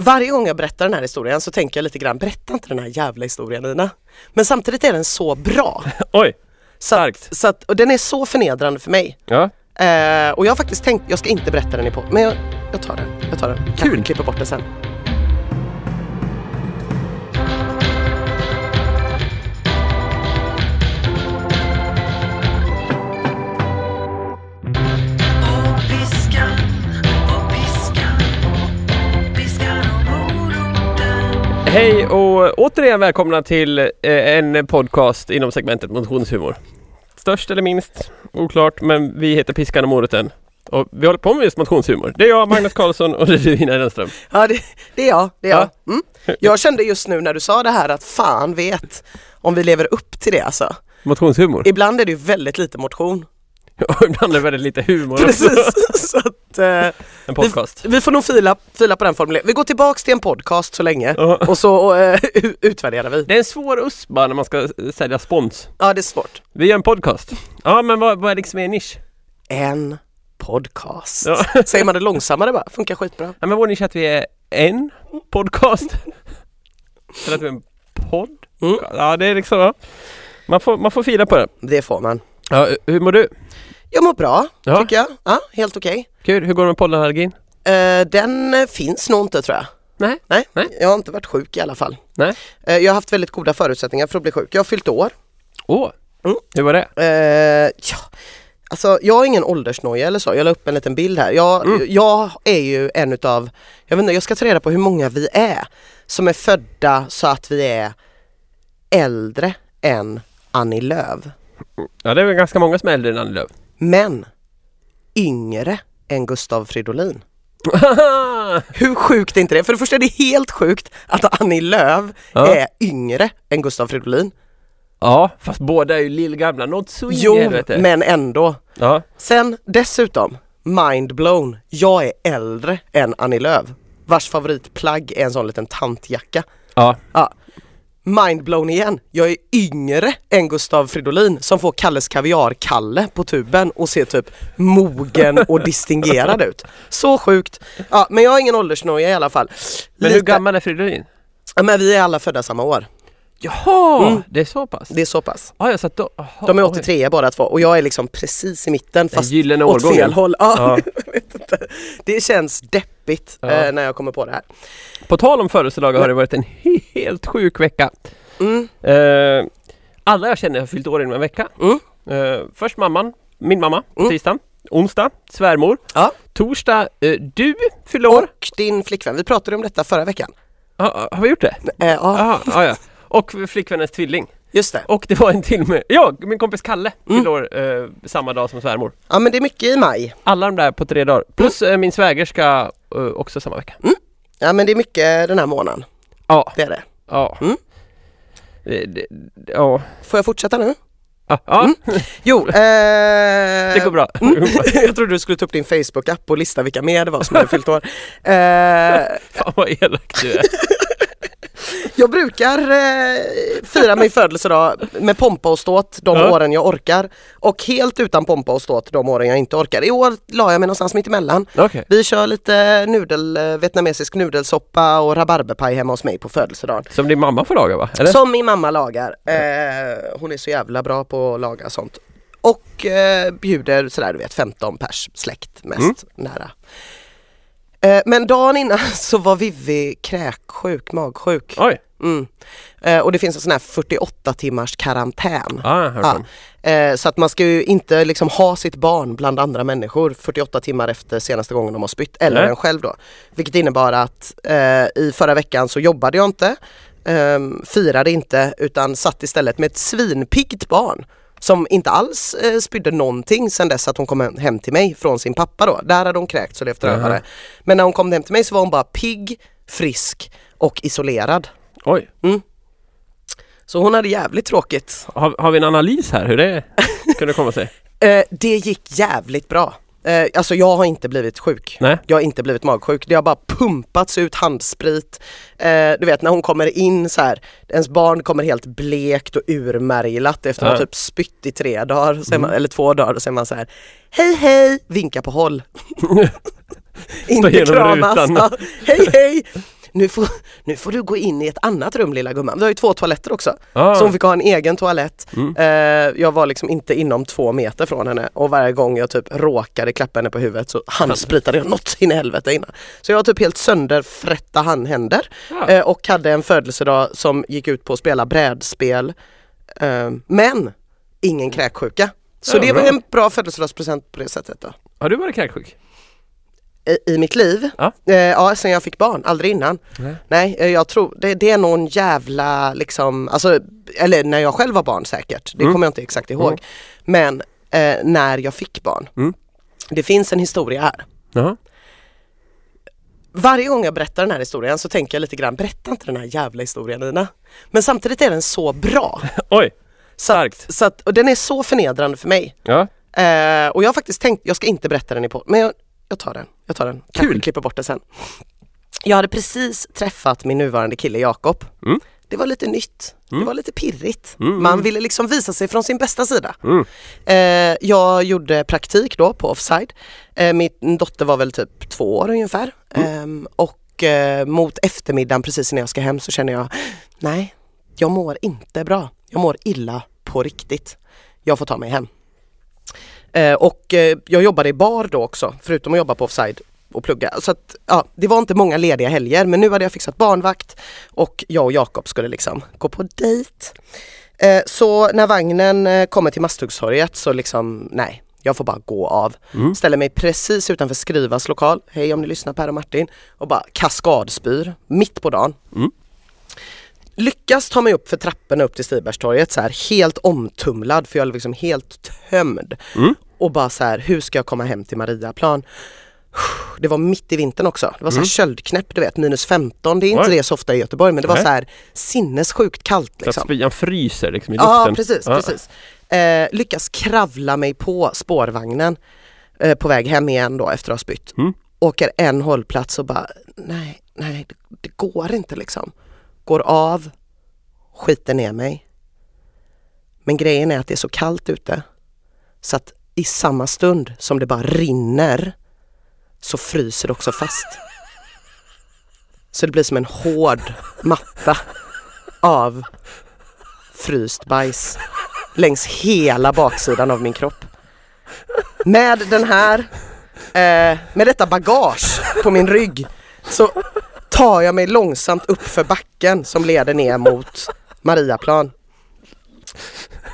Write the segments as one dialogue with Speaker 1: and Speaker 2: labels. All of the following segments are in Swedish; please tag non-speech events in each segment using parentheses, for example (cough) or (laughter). Speaker 1: Varje gång jag berättar den här historien så tänker jag lite grann, berätta inte den här jävla historien Nina. Men samtidigt är den så
Speaker 2: (laughs)
Speaker 1: bra.
Speaker 2: Oj,
Speaker 1: Så
Speaker 2: Starkt.
Speaker 1: Att, så att, och den är så förnedrande för mig.
Speaker 2: ja.
Speaker 1: Eh, och jag har faktiskt tänkt, jag ska inte berätta den i på, men jag, jag tar den. Jag tar den. Kanske
Speaker 2: Kul.
Speaker 1: klipper bort det sen.
Speaker 3: Och piskan, och piskan, piskan och moroten.
Speaker 2: Hej och återigen välkomna till eh, en podcast inom segmentet motionshumor. Störst eller minst? Oklart, men vi heter Piskan och moroten. Och vi håller på med just motionshumor. Det är jag, Magnus Karlsson och det är du, Ina Rönnström.
Speaker 1: Ja, det, det är jag. Det är jag. Mm. jag kände just nu när du sa det här att fan vet om vi lever upp till det alltså.
Speaker 2: Motionshumor.
Speaker 1: Ibland är det ju väldigt lite motion.
Speaker 2: (laughs) Och ibland är det väldigt lite humor också.
Speaker 1: Precis. (laughs) Så att, eh,
Speaker 2: En podcast.
Speaker 1: Vi, vi får nog fila, fila på den formuleringen. Vi går tillbaks till en podcast så länge
Speaker 2: Ja.
Speaker 1: (laughs) och så och, eh, u- utvärderar vi.
Speaker 2: Det är en svår USP bara när man ska eh, sälja spons.
Speaker 1: Ja, det är svårt.
Speaker 2: Vi gör en podcast. Ja, men vad, vad är liksom er nisch?
Speaker 1: En podcast.
Speaker 2: Ja.
Speaker 1: (laughs) Säger man det långsammare bara, funkar skitbra.
Speaker 2: Ja, men vår nisch är att vi är en (laughs) podcast. Eller att vi är en podd.
Speaker 1: Mm.
Speaker 2: Ja, det är liksom... Ja. Man, får, man får fila på det.
Speaker 1: Det får man.
Speaker 2: Ja, hur mår du?
Speaker 1: Jag mår bra,
Speaker 2: Ja.
Speaker 1: tycker jag. Ja, helt okej.
Speaker 2: Kul. Hur går det med pollenallergin?
Speaker 1: Eh, den eh, finns nog inte tror jag.
Speaker 2: Nej.
Speaker 1: Nej,
Speaker 2: Nej.
Speaker 1: jag har inte varit sjuk i alla fall.
Speaker 2: Nej.
Speaker 1: Eh, jag har haft väldigt goda förutsättningar för att bli sjuk. Jag har fyllt år.
Speaker 2: Åh.
Speaker 1: Mm.
Speaker 2: Hur var det?
Speaker 1: Eh, ja. Alltså jag har ingen åldersnoja eller så, jag la upp en liten bild här. Jag, jag är ju en utav, jag vet inte, jag ska ta reda på hur många vi är som är födda så att vi är äldre än Annie Lööf.
Speaker 2: Ja, det är väl ganska många som är äldre än Annie (laughs) Lööf.
Speaker 1: Men yngre än Gustav Fridolin. Hur sjukt är inte det? För det första är det helt sjukt att Annie Lööf
Speaker 2: Ja.
Speaker 1: är yngre än Gustav Fridolin.
Speaker 2: ja, fast båda är ju lillgamla. Något så in i
Speaker 1: Jo,
Speaker 2: helvete.
Speaker 1: men ändå.
Speaker 2: Ja.
Speaker 1: Sen dessutom, mind blown, jag är äldre än Annie Lööf. Vars favoritplagg är en sån liten tantjacka.
Speaker 2: ja.
Speaker 1: Ja. Mind blown igen, jag är yngre än Gustav Fridolin som får Kalles Kaviar-Kalle på tuben och ser typ mogen
Speaker 2: (laughs)
Speaker 1: och distingerad ut. Så sjukt! Ja, men jag har ingen åldersnoja i alla fall.
Speaker 2: Men hur
Speaker 1: Lite-
Speaker 2: gammal är Fridolin?
Speaker 1: Ja, men vi är alla födda samma år,
Speaker 2: Jaha! Mm. Det är så pass?
Speaker 1: det är så pass.
Speaker 2: Ja, jag satt då... aha,
Speaker 1: De är
Speaker 2: oj.
Speaker 1: 83 båda två och jag är liksom precis i mitten fast
Speaker 2: gyllene
Speaker 1: åt
Speaker 2: årgången.
Speaker 1: fel håll. Ja,
Speaker 2: Ja.
Speaker 1: (laughs) jag vet inte. Det känns deppigt
Speaker 2: Ja.
Speaker 1: eh, när jag kommer på det här.
Speaker 2: På tal om födelsedagar har det varit en helt sjuk vecka.
Speaker 1: Mm.
Speaker 2: Eh, alla jag känner har fyllt år inom en vecka.
Speaker 1: Mm.
Speaker 2: Eh, först mamman, min mamma, på
Speaker 1: Mm.
Speaker 2: tisdag. Onsdag, svärmor.
Speaker 1: Ja.
Speaker 2: Torsdag, eh, du fyllde år.
Speaker 1: Och din flickvän, vi pratade om detta förra veckan.
Speaker 2: Ha- har vi gjort det?
Speaker 1: Eh, ja,
Speaker 2: Aha, ja, ja. Och flickvännens tvilling.
Speaker 1: just det.
Speaker 2: Och det var en till med. Ja, min kompis Kalle
Speaker 1: Mm.
Speaker 2: fyllde år eh, samma dag som svärmor.
Speaker 1: Ja men det är mycket i maj.
Speaker 2: Alla de där på tre dagar. Plus
Speaker 1: Mm.
Speaker 2: eh, min svägerska eh, också samma vecka.
Speaker 1: Ja men det är mycket den här månaden,
Speaker 2: Ja,
Speaker 1: det är det.
Speaker 2: ja.
Speaker 1: Mm.
Speaker 2: Det- det- det- Ja,
Speaker 1: Får jag fortsätta nu?
Speaker 2: ja, ja.
Speaker 1: Jo, eh,
Speaker 2: (laughs) det går bra.
Speaker 1: (laughs) Mm. jag trodde du skulle ta upp din Facebook-app och lista vilka mer det var som hade fyllt
Speaker 2: (laughs)
Speaker 1: år. Eh,
Speaker 2: (laughs) Fan vad elak
Speaker 1: (laughs)
Speaker 2: du är.
Speaker 1: Jag brukar eh, fira min födelsedag med pompa och ståt de
Speaker 2: Ja.
Speaker 1: åren jag orkar och helt utan pompa och ståt de åren jag inte orkar. I år la jag mig någonstans mitt emellan.
Speaker 2: Okej.
Speaker 1: Vi kör lite nudel, eh, vietnamesisk nudelsoppa och rabarberpaj hemma hos mig på födelsedagen.
Speaker 2: Som din mamma får laga va? Eller?
Speaker 1: Som min mamma lagar. Eh, hon är så jävla bra på att laga sånt. Och eh, bjuder sådär du vet 15 pers släkt mest nära. Eh, men dagen innan (laughs) så var Vivi kräksjuk, magsjuk.
Speaker 2: Oj!
Speaker 1: Mm. Eh, och det finns en sån här 48 timmars karantän.
Speaker 2: Ah, jag har hört om.
Speaker 1: Ja. Eh, så att man ska ju inte liksom ha sitt barn bland andra människor 48 timmar efter senaste gången de har spytt, eller
Speaker 2: Nej.
Speaker 1: en själv då. Vilket innebar att eh, i förra veckan så jobbade jag inte, ehm, firade inte utan satt istället med ett svinpiggt barn som inte alls eh, spydde någonting sen dess att hon kom hem till mig från sin pappa då. Där hade hon kräkts och levt rövare. Men när hon kom hem till mig så var hon bara pigg, frisk och isolerad.
Speaker 2: Oj!
Speaker 1: Så hon hade jävligt tråkigt.
Speaker 2: Har, har vi en analys här hur det kunde
Speaker 1: (laughs)
Speaker 2: komma sig?
Speaker 1: Eh, det gick jävligt bra. Eh, alltså jag har inte blivit sjuk.
Speaker 2: Nej.
Speaker 1: Jag har inte blivit magsjuk. Det har bara pumpats ut handsprit. Eh, du vet när hon kommer in så här, ens barn kommer helt blekt och urmärglat efter att ha
Speaker 2: Ja. Mm.
Speaker 1: typ spytt i tre dagar, så är man, eller två dagar, och så är man så här hej hej,
Speaker 2: (laughs)
Speaker 1: vinka på håll. inte
Speaker 2: genom
Speaker 1: kramas. (laughs)
Speaker 2: rutan.
Speaker 1: Ja, hej hej! nu får, nu får du gå in i ett annat rum lilla gumman. Vi har ju två toaletter också.
Speaker 2: Ah.
Speaker 1: Så hon fick ha en egen toalett.
Speaker 2: Mm.
Speaker 1: Eh, jag var liksom inte inom två meter från henne och varje gång jag typ råkade klappa henne på huvudet så
Speaker 2: Alltså.
Speaker 1: handspritade jag något in i helvete innan. Så jag har typ helt sönderfrätta handhänder
Speaker 2: Ja.
Speaker 1: eh, och hade en födelsedag som gick ut på att spela brädspel. Eh, men ingen kräksjuka. Så
Speaker 2: Ja,
Speaker 1: det var
Speaker 2: bra.
Speaker 1: en bra födelsedagspresent på det sättet. Då.
Speaker 2: Har du varit kräksjuk?
Speaker 1: I, I mitt liv?
Speaker 2: Ja.
Speaker 1: Eh, ja, sen jag fick barn, aldrig innan.
Speaker 2: Nej.
Speaker 1: Nej, eh, jag tror det, det är någon jävla liksom, alltså, eller när jag själv var barn säkert, det
Speaker 2: Mm.
Speaker 1: kommer jag inte exakt ihåg.
Speaker 2: Mm.
Speaker 1: Men eh, när jag fick barn.
Speaker 2: Mm.
Speaker 1: Det finns en historia här.
Speaker 2: Jaha.
Speaker 1: Varje gång jag berättar den här historien så tänker jag lite grann, berätta inte den här jävla historien Nina. Men samtidigt är den så
Speaker 2: (laughs)
Speaker 1: bra.
Speaker 2: Oj!
Speaker 1: Så, att,
Speaker 2: Starkt.
Speaker 1: så att, och den är så förnedrande för mig.
Speaker 2: Ja.
Speaker 1: Eh, och jag har faktiskt tänkt, jag ska inte berätta den i podden, men jag, jag tar den. Jag tar den. Kanske
Speaker 2: Kul.
Speaker 1: klipper bort det sen. Jag hade precis träffat min nuvarande kille Jakob.
Speaker 2: Mm.
Speaker 1: Det var lite nytt, det var lite pirrigt.
Speaker 2: Mm,
Speaker 1: Man
Speaker 2: mm.
Speaker 1: ville liksom visa sig från sin bästa sida.
Speaker 2: Mm.
Speaker 1: Eh, jag gjorde praktik då på Offside. Eh, min dotter var väl typ två år ungefär.
Speaker 2: Mm.
Speaker 1: Ehm, och eh, mot eftermiddagen precis när jag ska hem så känner jag, nej, jag mår inte bra. Jag mår illa på riktigt. Jag får ta mig hem. Eh, och eh, jag jobbade i bar då också, förutom att jobba på Offside och plugga. Så att, ja, det var inte många lediga helger men nu hade jag fixat barnvakt och jag och Jakob skulle liksom gå på dejt. Eh, så när vagnen eh, kommer till Masthuggstorget så liksom, nej, jag får bara gå av. Ställer mig precis utanför Skrivas lokal, hej om ni lyssnar Per och Martin, och bara kaskadspyr mitt på dagen lyckas ta mig upp för trapporna upp till Stibergstorget så här helt omtumlad för jag är liksom helt tömd.
Speaker 2: Mm.
Speaker 1: Och bara så här, hur ska jag komma hem till Mariaplan? Det var mitt i vintern också. Det var så här köldknäpp, du vet, minus 15. Det är inte
Speaker 2: Mm. Oj.
Speaker 1: det så ofta i Göteborg men det var
Speaker 2: Nej.
Speaker 1: så här sinnessjukt kallt
Speaker 2: Så att
Speaker 1: liksom.
Speaker 2: spyan fryser liksom i luften.
Speaker 1: Ja, precis.
Speaker 2: Ja.
Speaker 1: precis. Eh, lyckas kravla mig på spårvagnen eh, på väg hem igen då efter att ha spytt.
Speaker 2: Mm.
Speaker 1: Åker en hållplats och bara, nej, nej, det, det går inte liksom. Går av, skiter ner mig. Men grejen är att det är så kallt ute så att i samma stund som det bara rinner så fryser det också fast. Så det blir som en hård matta av fryst bajs längs hela baksidan av min kropp. Med den här, eh, med detta bagage på min rygg så tar jag mig långsamt upp för backen som leder ner mot Mariaplan.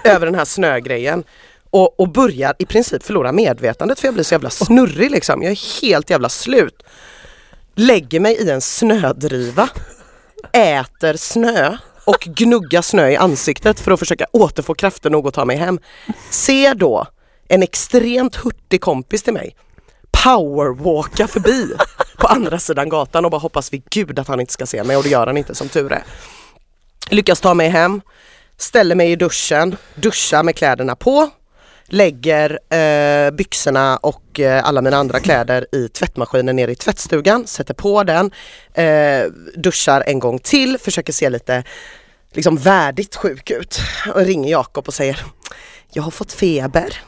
Speaker 1: Över den här snögrejen. Och, och börjar i princip förlora medvetandet för jag blir så jävla snurrig liksom. Jag är helt jävla slut. Lägger mig i en snödriva äter snö och gnuggar snö i ansiktet för att försöka återfå kraften nog att ta mig hem. Ser då en extremt hurtig kompis till mig powerwalka förbi på andra sidan gatan och bara hoppas vid gud att han inte ska se mig och det gör han inte som tur är. Lyckas ta mig hem, ställer mig i duschen, duschar med kläderna på, lägger eh, byxorna och eh, alla mina andra kläder i tvättmaskinen nere i tvättstugan, sätter på den, eh, duschar en gång till, försöker se lite liksom värdigt sjuk ut och ringer Jakob och säger Jag har fått feber.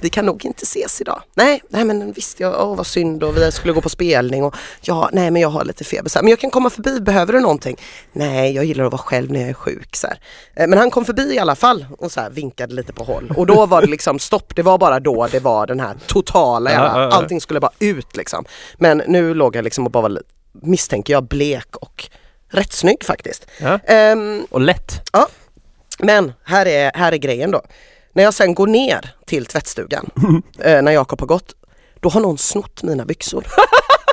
Speaker 1: Vi kan nog inte ses idag. Nej, nej men visst, jag, åh, vad synd och vi skulle gå på spelning och ja, nej men jag har lite feber. Så här, men jag kan komma förbi, behöver du någonting? Nej, jag gillar att vara själv när jag är sjuk. Så här. Eh, Men han kom förbi i alla fall och så här, vinkade lite på håll. Och då var det liksom stopp, det var bara då det var den här totala, jävla,
Speaker 2: Ja, ja, ja.
Speaker 1: allting skulle bara ut liksom. Men nu låg jag liksom och bara var, li- misstänker jag, blek och rätt snygg faktiskt.
Speaker 2: Ja.
Speaker 1: Ehm,
Speaker 2: Och lätt.
Speaker 1: Ja, men här är, här är grejen då. När jag sen går ner till tvättstugan, eh, när Jakob har gått, då har någon snott mina byxor. (laughs)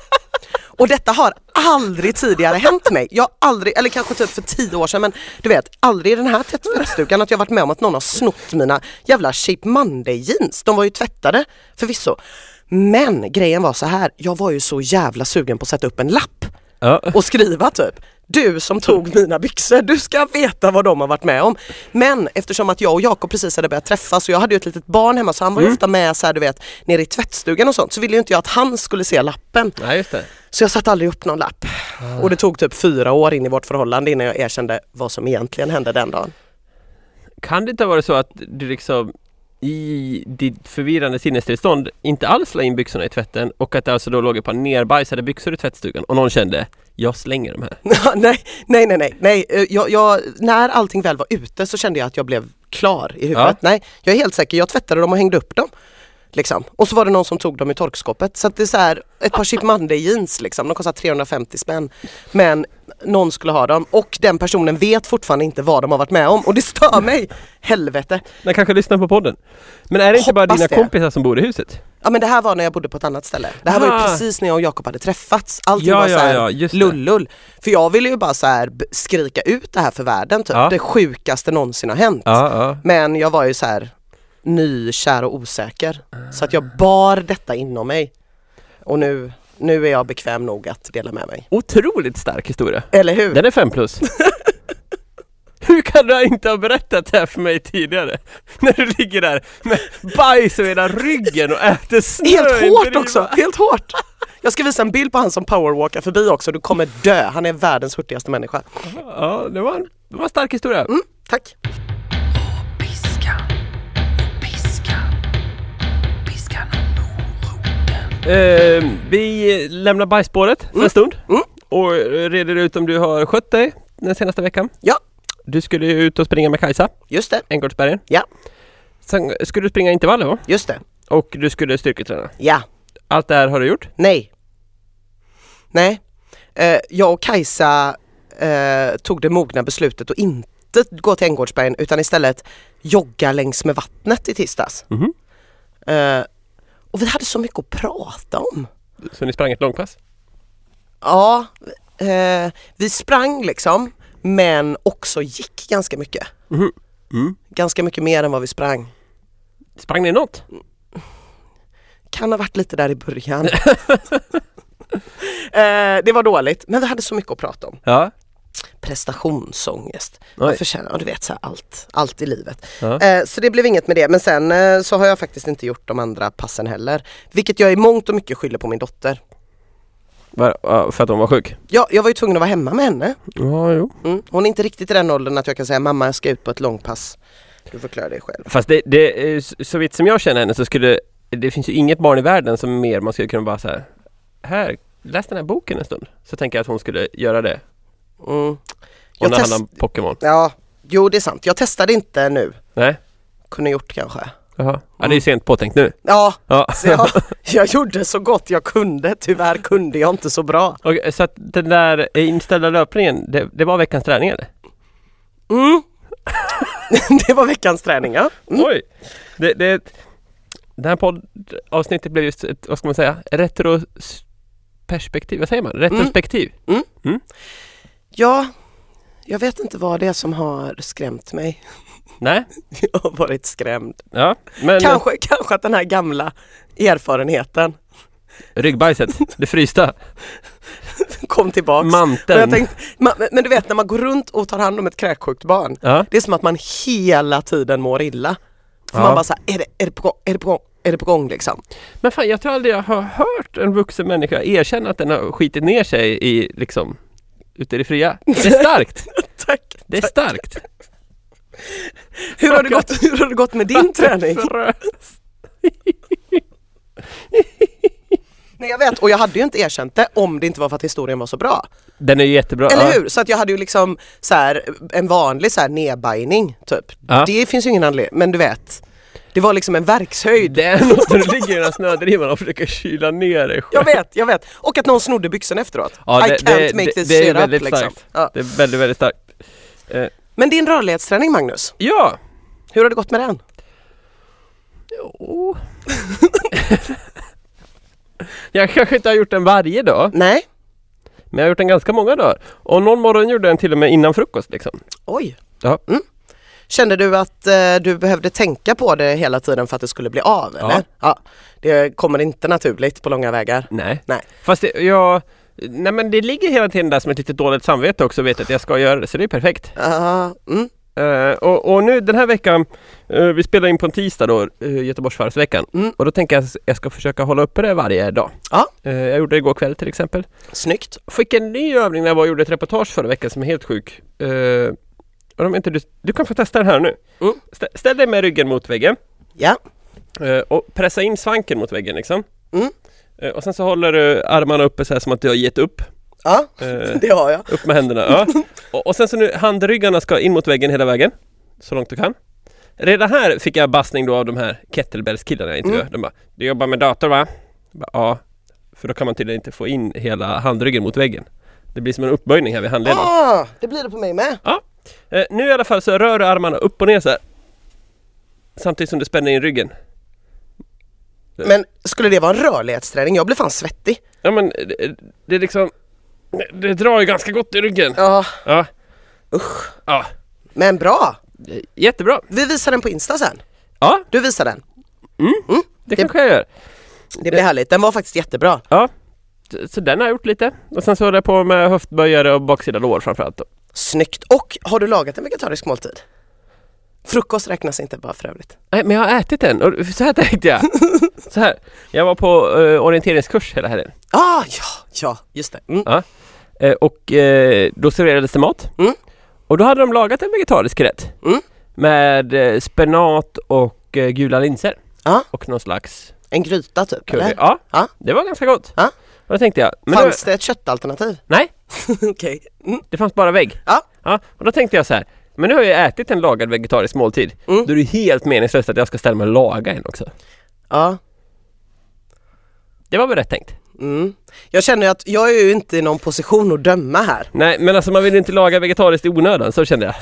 Speaker 1: Och detta har aldrig tidigare hänt mig. Jag har aldrig, eller kanske typ för tio år sedan men du vet, aldrig i den här tvätt- tvättstugan att jag varit med om att någon har snott mina jävla Shape Monday jeans. De var ju tvättade förvisso. Men grejen var så här, jag var ju så jävla sugen på att sätta upp en lapp
Speaker 2: Ja.
Speaker 1: och skriva typ du som tog mina byxor, du ska veta vad de har varit med om. Men eftersom att jag och Jakob precis hade börjat träffas och jag hade ju ett litet barn hemma så han var ju ofta med så här, du vet, nere i tvättstugan och sånt så ville ju inte jag att han skulle se lappen.
Speaker 2: Nej, just det.
Speaker 1: Så jag satte aldrig upp någon lapp. Och det tog typ fyra år in i vårt förhållande innan jag erkände vad som egentligen hände den dagen.
Speaker 2: Kan det inte ha varit så att du liksom i ditt förvirrande sinnestillstånd inte alls la in byxorna i tvätten och att det alltså då låg ett par nerbajsade byxor i tvättstugan och någon kände jag slänger de här.
Speaker 1: (laughs) nej, nej, nej, nej, nej. Eh, Jag, jag, när allting väl var ute så kände jag att jag blev klar i huvudet.
Speaker 2: Ja.
Speaker 1: Nej, jag är helt säker, jag tvättade dem och hängde upp dem. Liksom. Och så var det någon som tog dem i torkskåpet. Så att det är så här, ett par Chip Monday jeans liksom, de kostar 350 spänn. Men någon skulle ha dem och den personen vet fortfarande inte vad de har varit med om och det stör mig. Helvete.
Speaker 2: Den kanske lyssnar på podden. Men är det inte bara
Speaker 1: Hoppas
Speaker 2: dina
Speaker 1: det.
Speaker 2: kompisar som bor i huset?
Speaker 1: Ja men det här var när jag bodde på ett annat ställe. Det här var ju
Speaker 2: Ah.
Speaker 1: precis när jag och Jakob hade träffats. Allting
Speaker 2: Ja,
Speaker 1: var så
Speaker 2: ja,
Speaker 1: här
Speaker 2: ja, just det.
Speaker 1: lullull. För jag ville ju bara så här b- skrika ut det här för världen typ.
Speaker 2: Ja.
Speaker 1: Det sjukaste någonsin har hänt.
Speaker 2: Ja,
Speaker 1: Men jag var ju så här nykär och osäker. Så att jag bar detta inom mig. Och nu, nu är jag bekväm nog att dela med mig.
Speaker 2: Otroligt stark historia.
Speaker 1: Eller hur?
Speaker 2: Den är fem plus. (laughs) Hur kan du inte ha berättat det här för mig tidigare? När du ligger där med bajs över hela ryggen och äter snö i en
Speaker 1: Helt hårt
Speaker 2: driva.
Speaker 1: också, helt hårt! Jag ska visa en bild på han som powerwalkar förbi också, du kommer dö. Han är världens hurtigaste människa.
Speaker 2: Ja, det var en, det var en stark historia.
Speaker 1: Mm, tack!
Speaker 3: Piskan, piskan, piskan och moroten.
Speaker 2: Eh, vi lämnar bajsspåret för en stund
Speaker 1: Mm.
Speaker 2: och reder ut om du har skött dig den senaste veckan.
Speaker 1: Ja,
Speaker 2: Du skulle ju ut och springa med Kajsa,
Speaker 1: just det,
Speaker 2: Änggårdsbergen.
Speaker 1: Ja.
Speaker 2: Sen skulle du springa intervaller va?
Speaker 1: just det,
Speaker 2: Och du skulle styrketräna.
Speaker 1: ja.
Speaker 2: Allt det här har du gjort.
Speaker 1: Nej. Nej. Eh, jag och Kajsa eh, tog det mogna beslutet att inte gå till Änggårdsbergen utan istället jogga längs med vattnet i tisdags.
Speaker 2: Mhm.
Speaker 1: Eh, och vi hade så mycket att prata om.
Speaker 2: Så ni sprang ett långpass.
Speaker 1: Ja, eh, vi sprang liksom men också gick ganska mycket.
Speaker 2: Mhm. Mm.
Speaker 1: Ganska mycket mer än vad vi sprang.
Speaker 2: Sprang ni något?
Speaker 1: Kan ha varit lite där i början. eh, det var dåligt men vi hade så mycket att prata om.
Speaker 2: Ja.
Speaker 1: prestationsångest.
Speaker 2: Oj.
Speaker 1: Man förtjänar, ja, du vet så här, allt, allt i livet.
Speaker 2: Ja.
Speaker 1: Eh, så det blev inget med det men sen eh, så har jag faktiskt inte gjort de andra passen heller. Vilket jag i mångt och mycket skyller på min dotter.
Speaker 2: Var, ja, för att hon var sjuk?
Speaker 1: Ja, jag var ju tvungen att vara hemma med henne.
Speaker 2: Ja, jo.
Speaker 1: Mm. Hon är inte riktigt i den åldern att jag kan säga mamma jag ska ut på ett långpass. Du får klara dig själv.
Speaker 2: Fast det, det är s- så vitt som jag känner henne så skulle Det finns ju inget barn i världen som mer man skulle kunna bara så här. Här, läs den här boken en stund. Så tänker jag att hon skulle göra det.
Speaker 1: Mm.
Speaker 2: Och
Speaker 1: Jag
Speaker 2: när det
Speaker 1: test-
Speaker 2: handlar om Pokémon.
Speaker 1: Ja, jo det är sant. Jag testade inte nu.
Speaker 2: Nej?
Speaker 1: Kunde gjort kanske.
Speaker 2: Jaha. Ja, det är ju sent påtänkt nu.
Speaker 1: Ja,
Speaker 2: Ja.
Speaker 1: så
Speaker 2: (laughs)
Speaker 1: jag, jag gjorde så gott jag kunde. Tyvärr kunde jag inte så bra.
Speaker 2: Okej, så att den där eh, inställda löpningen, det, det var veckans träning eller?
Speaker 1: Mm. (laughs) det var veckans träning ja.
Speaker 2: Oj! Det, det, är ett- det här poddavsnittet blev just ett, vad ska man säga, retroperspektiv, vad säger man?
Speaker 1: Mm.
Speaker 2: Retrospektiv?
Speaker 1: Ja, jag vet inte vad det är som har skrämt mig. (laughs)
Speaker 2: Nej?
Speaker 1: Jag har varit skrämd.
Speaker 2: Ja, men
Speaker 1: Kanske, kanske att den här gamla erfarenheten
Speaker 2: ryggbajset, det
Speaker 1: (laughs)
Speaker 2: frysta,
Speaker 1: kom tillbaks. Men,
Speaker 2: manteln.
Speaker 1: jag tänkte, man, men du vet när man går runt och tar hand om ett kräksjukt barn,
Speaker 2: Ja.
Speaker 1: det är som att man hela tiden mår illa. För
Speaker 2: Ja.
Speaker 1: Man bara såhär, är det, är det på gång, är det på gång, är det på gång liksom?
Speaker 2: Men fan, jag tror aldrig jag har hört en vuxen människa erkänna att den har skitit ner sig i, liksom, ute i det fria. Det är starkt!
Speaker 1: Tack!
Speaker 2: Det
Speaker 1: (laughs)
Speaker 2: är starkt!
Speaker 1: Hur har det gått, hur har det gått med
Speaker 2: (laughs)
Speaker 1: din träning?
Speaker 2: Frös.
Speaker 1: Nej jag vet, och jag hade ju inte erkänt det om det inte var för att historien var så bra.
Speaker 2: Den är ju jättebra.
Speaker 1: Eller
Speaker 2: ja.
Speaker 1: hur? Så att jag hade ju liksom så här, en vanlig så här nedbajning typ.
Speaker 2: Ja.
Speaker 1: Det finns ju ingen anledning, men du vet. Det var liksom en verkshöjd.
Speaker 2: Det är något när du ligger i den här snödrivan och försöker kyla ner dig
Speaker 1: Jag
Speaker 2: själv.
Speaker 1: vet, jag vet. Och att någon snodde byxorna efteråt. I can't make this
Speaker 2: det är
Speaker 1: shit up
Speaker 2: väldigt
Speaker 1: liksom.
Speaker 2: starkt.
Speaker 1: Ja.
Speaker 2: Det är väldigt, väldigt starkt.
Speaker 1: Men din rörlighetsträning Magnus,
Speaker 2: Ja!
Speaker 1: hur har det gått med den?
Speaker 2: Jo. (laughs) jag kanske inte har gjort den varje dag,
Speaker 1: Nej?
Speaker 2: men jag har gjort den ganska många dagar. Och någon morgon gjorde jag den till och med innan frukost liksom.
Speaker 1: Oj.
Speaker 2: Ja.
Speaker 1: Mm. Kände du att eh, du behövde tänka på det hela tiden för att det skulle bli av?
Speaker 2: Ja.
Speaker 1: Eller? ja. Det kommer inte naturligt på långa vägar.
Speaker 2: Nej.
Speaker 1: Nej.
Speaker 2: Fast det, jag... Nej men det ligger hela tiden där som ett litet dåligt samvete också, vet att jag ska göra det, så det är perfekt.
Speaker 1: Ja, mm.
Speaker 2: Eh, och, och nu den här veckan, eh, vi spelar in på en tisdag då, uh, Göteborgsvarvsveckan.
Speaker 1: Mm.
Speaker 2: Och då tänker jag att jag ska försöka hålla uppe det varje dag.
Speaker 1: Ja.
Speaker 2: Eh, jag gjorde det igår kväll till exempel.
Speaker 1: Snyggt.
Speaker 2: Fick en ny övning när jag var och gjorde ett reportage förra veckan som är helt sjuk. Eh, och de är inte, du, du kan få testa den här nu.
Speaker 1: Mm.
Speaker 2: Stä, ställ dig med ryggen mot väggen.
Speaker 1: Ja,
Speaker 2: Eh, och pressa in svanken mot väggen liksom.
Speaker 1: Mm.
Speaker 2: Eh, och sen så håller du armarna uppe så här som att du har gett upp.
Speaker 1: ja
Speaker 2: Eh,
Speaker 1: (laughs) det har jag.
Speaker 2: upp med händerna. Ja. Och, och sen så nu handryggarna ska in mot väggen hela vägen. Så långt du kan. Redan här fick jag bassning då av de här kettlebellskillarna jag
Speaker 1: Mm.
Speaker 2: intervjuade. De bara, du jobbar med dator va? Jag bara, ja. För då kan man tydligen inte få in hela handryggen mot väggen. Det blir som en uppböjning här vid handleden.
Speaker 1: Ah, det blir det på mig med.
Speaker 2: Ja. Eh, nu i alla fall så rör du armarna upp och ner så här. Samtidigt som du spänner in ryggen.
Speaker 1: Men skulle det vara en rörlighetsträning? Jag blir fan svettig.
Speaker 2: Ja men det, det är liksom Det drar ju ganska gott i ryggen
Speaker 1: Ja,
Speaker 2: Ja,
Speaker 1: usch.
Speaker 2: ja.
Speaker 1: Men bra!
Speaker 2: Jättebra
Speaker 1: Vi visar den på Insta sen.
Speaker 2: Ja,
Speaker 1: Du visar den.
Speaker 2: det kanske jag gör
Speaker 1: Det blir härligt. Den var faktiskt jättebra.
Speaker 2: Ja Så den har jag gjort lite Och sen så håller jag på med höftböjare och baksida lår framförallt då.
Speaker 1: Snyggt! Och har du lagat en vegetarisk måltid? Frukost räknas inte bara för övrigt.
Speaker 2: Nej men jag har ätit den och så här
Speaker 1: (laughs)
Speaker 2: tänkte jag Så här Jag var på eh, orienteringskurs hela helgen
Speaker 1: Ah, ja, ja, just det. Mm.
Speaker 2: Eh, Och eh, då serverades det mat
Speaker 1: Mm.
Speaker 2: Och då hade de lagat en vegetarisk rätt
Speaker 1: Mm.
Speaker 2: Med eh, spenat och eh, gula linser
Speaker 1: Ja.
Speaker 2: Och någon slags
Speaker 1: En gryta typ,
Speaker 2: Curry.
Speaker 1: eller?
Speaker 2: Ja,
Speaker 1: Ja.
Speaker 2: det var ganska gott.
Speaker 1: Ja.
Speaker 2: Och då tänkte jag, men
Speaker 1: Fanns
Speaker 2: då,
Speaker 1: det ett
Speaker 2: (laughs)
Speaker 1: köttalternativ?
Speaker 2: nej,
Speaker 1: Okej. Mm.
Speaker 2: det fanns bara vägg.
Speaker 1: Ja.
Speaker 2: Ja, och då tänkte jag så här, men nu har jag ätit en lagad vegetarisk måltid.
Speaker 1: Mm.
Speaker 2: Då är det helt meningslöst att jag ska ställa mig och laga en också.
Speaker 1: Ja.
Speaker 2: Det var väl rätt tänkt?
Speaker 1: Mm. Jag känner ju att jag är ju inte i någon position att döma här.
Speaker 2: Nej, men alltså man vill ju inte laga vegetariskt i onödan, så kände jag.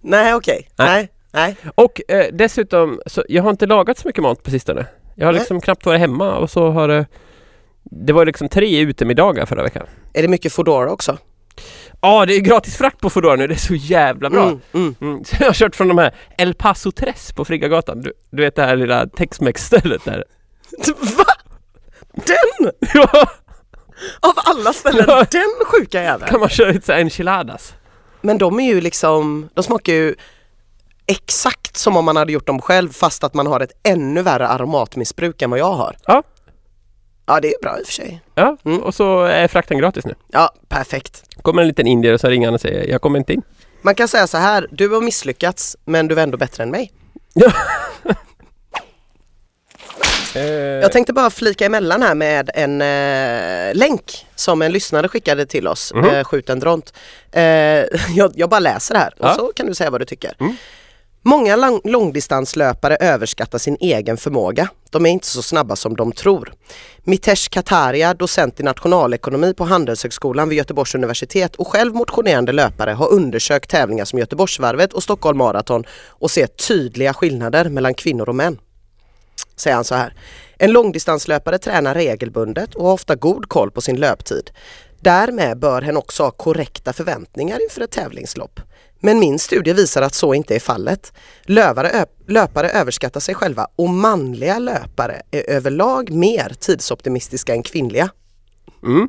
Speaker 1: Nej, okej. Nej. Nej.
Speaker 2: Och eh, dessutom, så, jag har inte lagat så mycket mat på sistone. Jag har
Speaker 1: Nej.
Speaker 2: liksom knappt varit hemma och så har det... Det var liksom tre utemiddagar förra veckan.
Speaker 1: Är det mycket Foodora också?
Speaker 2: Ja, det är ju gratis frakt på Foodora nu, det är så jävla bra.
Speaker 1: Mm, mm. (laughs)
Speaker 2: Mm, (laughs) så jag har kört från de här El Paso Tres på Friggagatan. Du, du vet det här lilla Tex-Mex-stället där. (laughs)
Speaker 1: Va? Den?
Speaker 2: Ja,
Speaker 1: Av alla ställen,
Speaker 2: Ja.
Speaker 1: den sjuka jäveln.
Speaker 2: (laughs) kan man köra lite så här enchiladas?
Speaker 1: Men de är ju liksom, de smakar ju exakt som om man hade gjort dem själv fast att man har ett ännu värre aromatmissbruk än vad jag har.
Speaker 2: Ja.
Speaker 1: Ja det är bra i och för sig.
Speaker 2: Ja,
Speaker 1: Mm.
Speaker 2: och så är frakten gratis nu.
Speaker 1: Ja, perfekt.
Speaker 2: Kommer en liten indier och så ringer han och säger jag kommer inte in.
Speaker 1: Man kan säga så här, du har misslyckats men du var ändå bättre än mig. Eh.
Speaker 2: Eh,
Speaker 1: Jag tänkte bara flika emellan här med en eh, länk som en lyssnare skickade till oss,
Speaker 2: Mhm.
Speaker 1: eh, Skjut en dront. Eh, (laughs) jag, jag bara läser här och
Speaker 2: Ja.
Speaker 1: så kan du säga vad du tycker.
Speaker 2: Mm.
Speaker 1: Många lang- långdistanslöpare överskattar sin egen förmåga. De är inte så snabba som de tror. Mitesh Kataria, docent i nationalekonomi på Handelshögskolan vid Göteborgs universitet och själv motionerande löpare har undersökt tävlingar som Göteborgsvarvet och Stockholm Marathon och ser tydliga skillnader mellan kvinnor och män säger han så här. En långdistanslöpare tränar regelbundet och har ofta god koll på sin löptid. Därmed bör hen också ha korrekta förväntningar inför ett tävlingslopp. Men min studie visar att så inte är fallet. Lövare, ö- löpare överskattar sig själva och manliga löpare är överlag mer tidsoptimistiska än kvinnliga.
Speaker 2: Mm.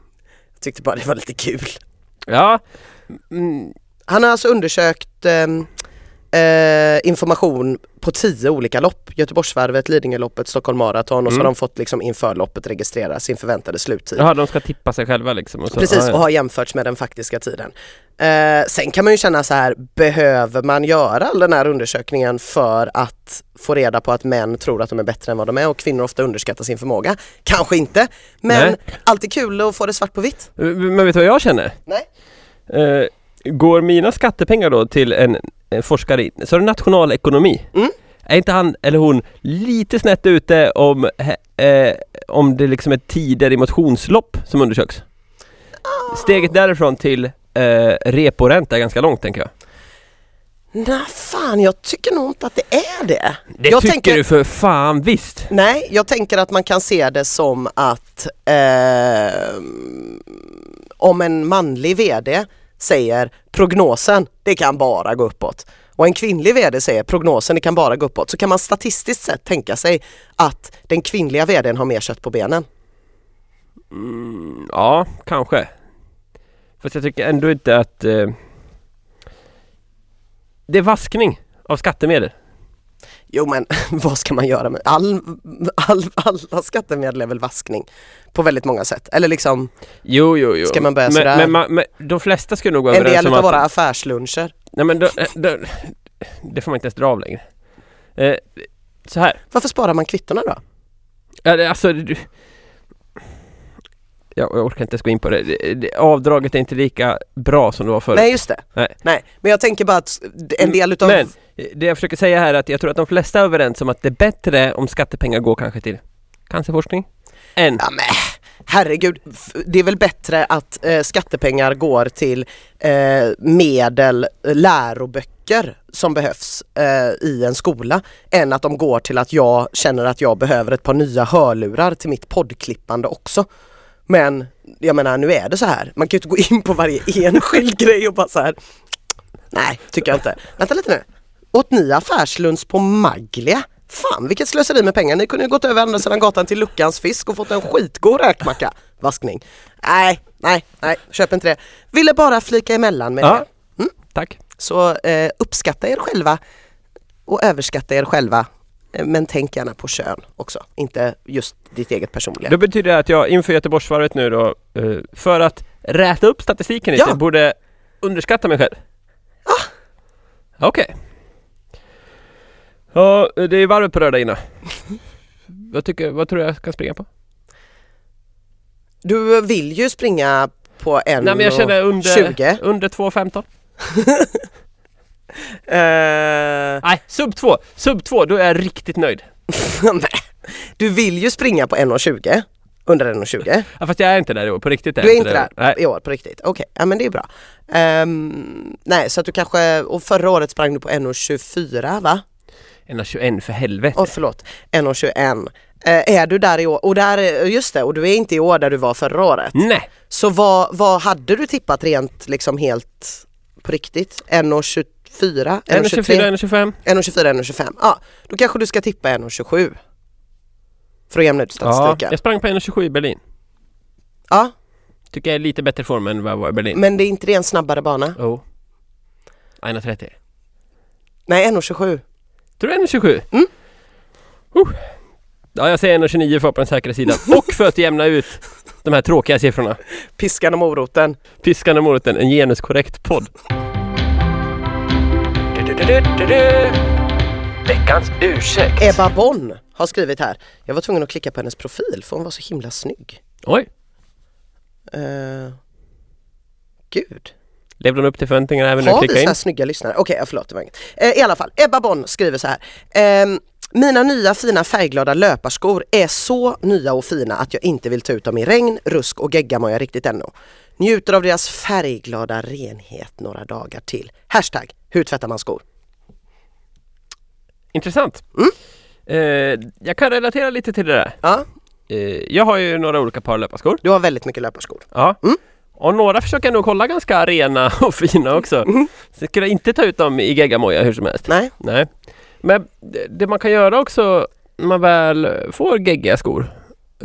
Speaker 1: Jag tyckte bara det var lite kul.
Speaker 2: Ja, mm,
Speaker 1: Han har alltså undersökt ehm, eh, information på tio olika lopp. Göteborgsvarvet, Lidingöloppet, Stockholm Marathon och så har
Speaker 2: Mm.
Speaker 1: de fått liksom inför loppet registrera sin förväntade sluttid.
Speaker 2: jaha, de ska tippa sig själva liksom. Och så.
Speaker 1: Precis,
Speaker 2: ja,
Speaker 1: och
Speaker 2: ja.
Speaker 1: har jämförts med den faktiska tiden. Eh, sen kan man ju känna så här, behöver man göra all den här undersökningen för att få reda på att män tror att de är bättre än vad de är och kvinnor ofta underskattar sin förmåga? Kanske inte, men
Speaker 2: Nej.
Speaker 1: alltid kul att få det svart på vitt.
Speaker 2: Eh, Men vet du vad jag känner?
Speaker 1: Nej.
Speaker 2: Eh, går mina skattepengar då till en, en forskare i så är det nationalekonomi?
Speaker 1: Mm.
Speaker 2: Är inte han eller hon lite snett ute om, he- eh, om det liksom är tider i motionslopp som undersöks?
Speaker 1: Ah.
Speaker 2: Steget därifrån till eh, reporänta är ganska långt tänker jag.
Speaker 1: Nej fan, jag tycker nog inte att det är det.
Speaker 2: Det
Speaker 1: jag
Speaker 2: tycker du för fan visst!
Speaker 1: Nej, jag tänker att man kan se det som att eh, om en manlig VD säger prognosen, det kan bara gå uppåt. Och en kvinnlig VD säger prognosen, det kan bara gå uppåt. Så kan man statistiskt sett tänka sig att den kvinnliga VDn har mer kött på benen.
Speaker 2: Mm, Ja, kanske. Fast jag tycker ändå inte att... Eh, det är vaskning av skattemedel.
Speaker 1: Jo men (laughs) vad ska man göra med all, all, alla skattemedel är väl vaskning på väldigt många sätt. Eller liksom
Speaker 2: Jo, jo, jo.
Speaker 1: Ska man börja
Speaker 2: men,
Speaker 1: sådär?
Speaker 2: Men, man- men de flesta skulle nog vara
Speaker 1: en
Speaker 2: överens
Speaker 1: del
Speaker 2: om
Speaker 1: av
Speaker 2: att...
Speaker 1: våra affärsluncher.
Speaker 2: Nej men då, då, det får man inte ens dra av längre. Eh, Så här.
Speaker 1: Varför sparar man kvittona då?
Speaker 2: Ja, det- Alltså, du... jag, jag orkar inte ens gå in på det. Det- det- Avdraget är inte lika bra som det var förr.
Speaker 1: Nej just det.
Speaker 2: Nej.
Speaker 1: men jag tänker bara att en del utav...
Speaker 2: Men det jag försöker säga här är att jag tror att de flesta är överens om att det är bättre om skattepengar går kanske till cancerforskning än
Speaker 1: Ja, men, herregud, f- det är väl bättre att eh, skattepengar går till eh, medel, eh, läroböcker som behövs eh, i en skola än att de går till att jag känner att jag behöver ett par nya hörlurar till mitt poddklippande också. Men jag menar nu är det så här, man kan ju inte gå in på varje (laughs) enskild grej och bara så här. Nej, tycker jag inte. Vänta lite nu. Åt ni affärslunch på Maglia? Fan vilket slöseri med pengar, ni kunde ju gått över andra sidan gatan till Luckans fisk och fått en skitgod räkmacka. Vaskning. Nej, nej, nej, köp inte det. Ville bara flika emellan med
Speaker 2: Ja.
Speaker 1: det.
Speaker 2: Tack.
Speaker 1: Så eh, uppskatta er själva och överskatta er själva. Eh, Men tänk gärna på kön också, inte just ditt eget personliga.
Speaker 2: Då betyder det att jag inför Göteborgsvarvet nu då, eh, för att räta upp statistiken lite,
Speaker 1: Ja.
Speaker 2: borde underskatta mig själv. Ja. Okej. Ja, det är varvet på
Speaker 1: (laughs)
Speaker 2: röda innan. Vad, tycker, vad tror du jag kan springa på?
Speaker 1: Du vill ju springa på en
Speaker 2: Nej men jag
Speaker 1: och
Speaker 2: känner under,
Speaker 1: 20.
Speaker 2: under 2.15.
Speaker 1: eh,
Speaker 2: Nej, sub 2. Sub 2, då är jag riktigt nöjd.
Speaker 1: Nej. Du vill ju springa på 1,20 under 1,20.
Speaker 2: Ja, fast jag är inte där i år, på riktigt är
Speaker 1: Du är
Speaker 2: jag
Speaker 1: inte där
Speaker 2: Nej.
Speaker 1: i år på riktigt. Okej, ja men det är bra. Ehm, nej så att du kanske, och förra året sprang du på 1,24 va?
Speaker 2: 1,21 för helvete.
Speaker 1: Åh förlåt, 1,21. Eh, är du där i år, och där, är- just det, och du är inte i år där du var förra året.
Speaker 2: Nej!
Speaker 1: Så vad, vad hade du tippat rent liksom helt på riktigt? 1,24?
Speaker 2: 1,24, 1,25.
Speaker 1: 1,24, 1,25. Ja, då kanske du ska tippa 1,27. För att jämna ut
Speaker 2: Ja,
Speaker 1: statistiken.
Speaker 2: jag sprang på 1,27 i Berlin.
Speaker 1: ja,
Speaker 2: Tycker jag är lite bättre form än vad jag var i Berlin.
Speaker 1: Men det är inte det en snabbare bana?
Speaker 2: Jo. Oh. 1,30.
Speaker 1: Nej, 1,27.
Speaker 2: Tror du 1,27? Mm. Uh. Ja, jag säger 1,29 för att vara på den säkra (laughs) sidan. Och för att jämna ut de här tråkiga siffrorna.
Speaker 1: Piskan och moroten.
Speaker 2: Piskan och moroten, en genuskorrekt podd. Veckans ursäkt.
Speaker 1: Ebba Bonn har skrivit här. Jag var tvungen att klicka på hennes profil för hon var så himla snygg.
Speaker 2: Oj,
Speaker 1: Eh, gud.
Speaker 2: levde hon upp till förväntningarna även när du
Speaker 1: Har vi
Speaker 2: klickade
Speaker 1: så
Speaker 2: in?
Speaker 1: här snygga lyssnare? Okej, ja, förlåt. det var inget. Eh, I alla fall, Ebba Bonn skriver så här. Ehm, mina nya fina färgglada löparskor är så nya och fina att jag inte vill ta ut dem i regn, rusk och gegga mår jag riktigt ännu. Njuter av deras färgglada renhet några dagar till. Hashtag, hur tvättar man skor?
Speaker 2: Intressant.
Speaker 1: Mm.
Speaker 2: Eh, jag kan relatera lite till det där.
Speaker 1: Ja,
Speaker 2: Eh, jag har ju några olika par löparskor.
Speaker 1: du har väldigt mycket löparskor.
Speaker 2: Ja. Och några försöker jag nog hålla ganska rena (laughs) och fina också. Så skulle jag inte ta ut dem i geggamoja hur som helst.
Speaker 1: Mm. Nej.
Speaker 2: Nej. Men det- det man kan göra också när man väl får geggiga skor.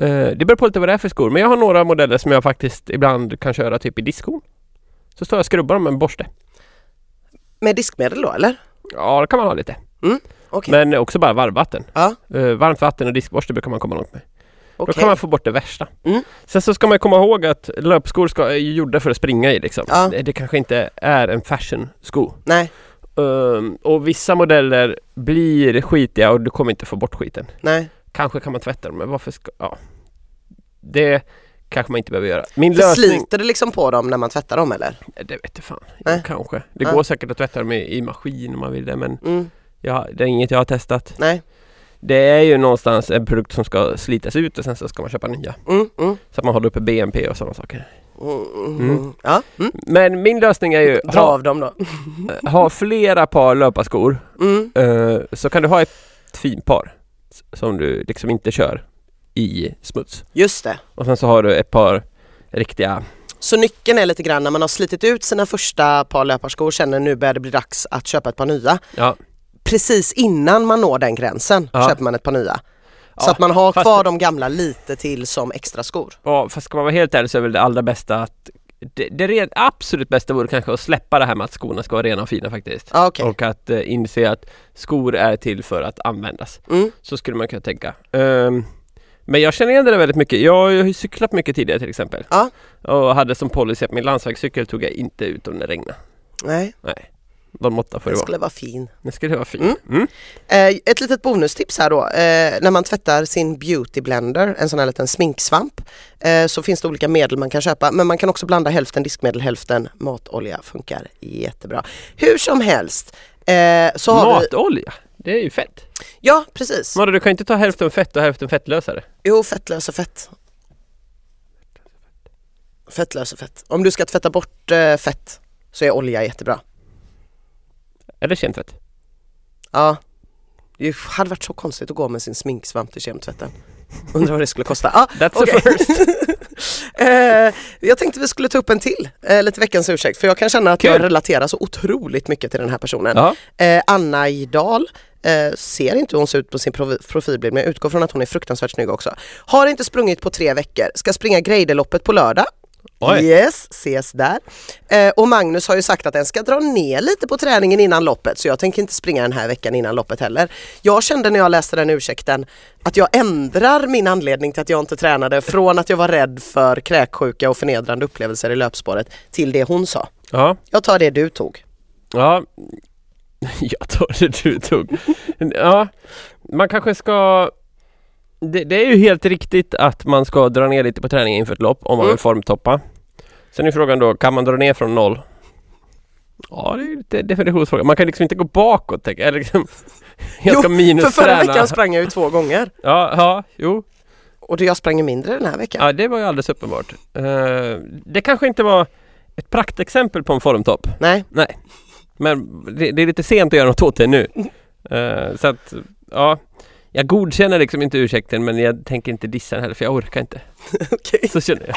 Speaker 2: eh, Det beror på lite vad det är för skor. Men jag har några modeller som jag faktiskt ibland kan köra typ i diskon. Så står jag och skrubbar dem med en borste.
Speaker 1: Med diskmedel då eller?
Speaker 2: Ja, det kan man ha lite.
Speaker 1: Mm. Okej.
Speaker 2: Men också bara varmvatten.
Speaker 1: Ja,
Speaker 2: Eh, Varmt vatten och diskborste brukar man komma långt med. Då
Speaker 1: okej.
Speaker 2: kan man få bort det värsta.
Speaker 1: Mm.
Speaker 2: Sen så ska man komma ihåg att löpskor ska, är ju gjorda för att springa i liksom.
Speaker 1: Ja.
Speaker 2: Det, det kanske inte är en fashion-sko.
Speaker 1: Nej,
Speaker 2: Ehm, och vissa modeller blir skitiga och du kommer inte få bort skiten.
Speaker 1: nej.
Speaker 2: Kanske kan man tvätta dem, men varför ska... Ja. Det kanske man inte behöver göra. Min
Speaker 1: För
Speaker 2: lösning...
Speaker 1: sliter det liksom på dem när man tvättar dem eller?
Speaker 2: Det vet jag fan.
Speaker 1: Nej.
Speaker 2: Kanske. Det
Speaker 1: Ja.
Speaker 2: går säkert att tvätta dem i, i maskin om man vill det, men
Speaker 1: Mm,
Speaker 2: jag, det är inget jag har testat.
Speaker 1: nej.
Speaker 2: Det är ju någonstans en produkt som ska slitas ut och sen så ska man köpa nya.
Speaker 1: Mm, mm,
Speaker 2: Så att man håller uppe BNP och sådana saker.
Speaker 1: mm, mm.
Speaker 2: Mm.
Speaker 1: Ja, mm.
Speaker 2: Men min lösning är ju
Speaker 1: Dra
Speaker 2: ha,
Speaker 1: av dem då.
Speaker 2: ha flera par löparskor
Speaker 1: Mm.
Speaker 2: eh, så kan du ha ett fint par s- som du liksom inte kör i smuts.
Speaker 1: Just det.
Speaker 2: Och sen så har du ett par riktiga,
Speaker 1: Så nyckeln är lite grann när man har slitit ut sina första par löparskor känner nu börjar det bli dags att köpa ett par nya.
Speaker 2: ja,
Speaker 1: Precis innan man når den gränsen
Speaker 2: Ja.
Speaker 1: köper man ett par nya. Så
Speaker 2: Ja,
Speaker 1: att man har
Speaker 2: fast-
Speaker 1: kvar de gamla lite till som extra skor.
Speaker 2: ja fast ska man vara helt ärlig så är väl det allra bästa att det, det red, absolut bästa vore kanske att släppa det här med att skorna ska vara rena och fina faktiskt.
Speaker 1: Ja, okej.
Speaker 2: Och att eh, inse att skor är till för att användas.
Speaker 1: Mm.
Speaker 2: Så skulle man kunna tänka. Ehm, men jag känner igen det där väldigt mycket. Jag har ju cyklat mycket tidigare till exempel.
Speaker 1: Ja.
Speaker 2: Och hade som policy att min landsvägscykel tog jag inte ut om det regnade.
Speaker 1: Nej.
Speaker 2: Nej. någon måtta får det
Speaker 1: Den
Speaker 2: vara.
Speaker 1: skulle vara fin.
Speaker 2: Nu ska det vara fint.
Speaker 1: Mm.
Speaker 2: Mm.
Speaker 1: Eh, ett litet bonustips här då. Eh, när man tvättar sin beauty blender, en sån här liten sminksvamp, eh, så finns det olika medel man kan köpa. Men man kan också blanda hälften diskmedel, hälften matolja. Funkar jättebra. Hur som helst. Eh, så har vi,
Speaker 2: Matolja, det är ju fett.
Speaker 1: ja, precis.
Speaker 2: Men du kan ju inte ta hälften fett och hälften fettlösare.
Speaker 1: Jo, fettlös och fett. Fettlös och fett. Om du ska tvätta bort eh, fett så är olja jättebra.
Speaker 2: Eller känt fett.
Speaker 1: Ja. Det hade varit så konstigt att gå med sin sminksvamp till kemtvätten. Undrar vad det skulle kosta. Ah,
Speaker 2: That's
Speaker 1: okej.
Speaker 2: the first.
Speaker 1: eh, jag tänkte vi skulle ta upp en till, eh, lite veckans ursäkt. För jag kan känna att jag
Speaker 2: Kul.
Speaker 1: relaterar så otroligt mycket till den här personen.
Speaker 2: (laughs) Ja.
Speaker 1: Eh, Anna Idahl eh, ser inte hur hon ser ut på sin provi- profilbild men jag utgår från att hon är fruktansvärt snygg också. Har inte sprungit på tre veckor, ska springa Grejdeloppet på lördag.
Speaker 2: Oj.
Speaker 1: Yes, ses där. Eh, och Magnus har ju sagt att den ska dra ner lite på träningen innan loppet så jag tänker inte springa den här veckan innan loppet heller. Jag kände när jag läste den ursäkten att jag ändrar min anledning till att jag inte tränade från att jag var rädd för kräksjuka och förnedrande upplevelser i löpspåret till det hon sa.
Speaker 2: Ja.
Speaker 1: Jag tar det du tog.
Speaker 2: Ja, (laughs) jag tar det du tog. Ja, man kanske ska... Det, det är ju helt riktigt att man ska dra ner lite på träningen inför ett lopp om man
Speaker 1: Mm.
Speaker 2: vill formtoppa. Sen är frågan då, kan man dra ner från noll? Ja, det är ju lite definitionsfråga. Man kan liksom inte gå bakåt, tänker jag. Eller Liksom, (laughs) jag ska
Speaker 1: för förra
Speaker 2: minusträna.
Speaker 1: veckan sprang jag ju två gånger.
Speaker 2: Ja, ja, jo.
Speaker 1: Och det- jag sprang ju mindre den här veckan.
Speaker 2: Ja, det var ju alldeles uppenbart. Eh, det kanske inte var ett praktexempel på en formtopp. (laughs)
Speaker 1: Nej,
Speaker 2: Men det, det är lite sent att göra något åt det nu.
Speaker 1: Mm.
Speaker 2: Eh, så att, ja. Jag godkänner liksom inte ursäkten men jag tänker inte dissa den heller för jag orkar inte.
Speaker 1: okej.
Speaker 2: Så känner jag.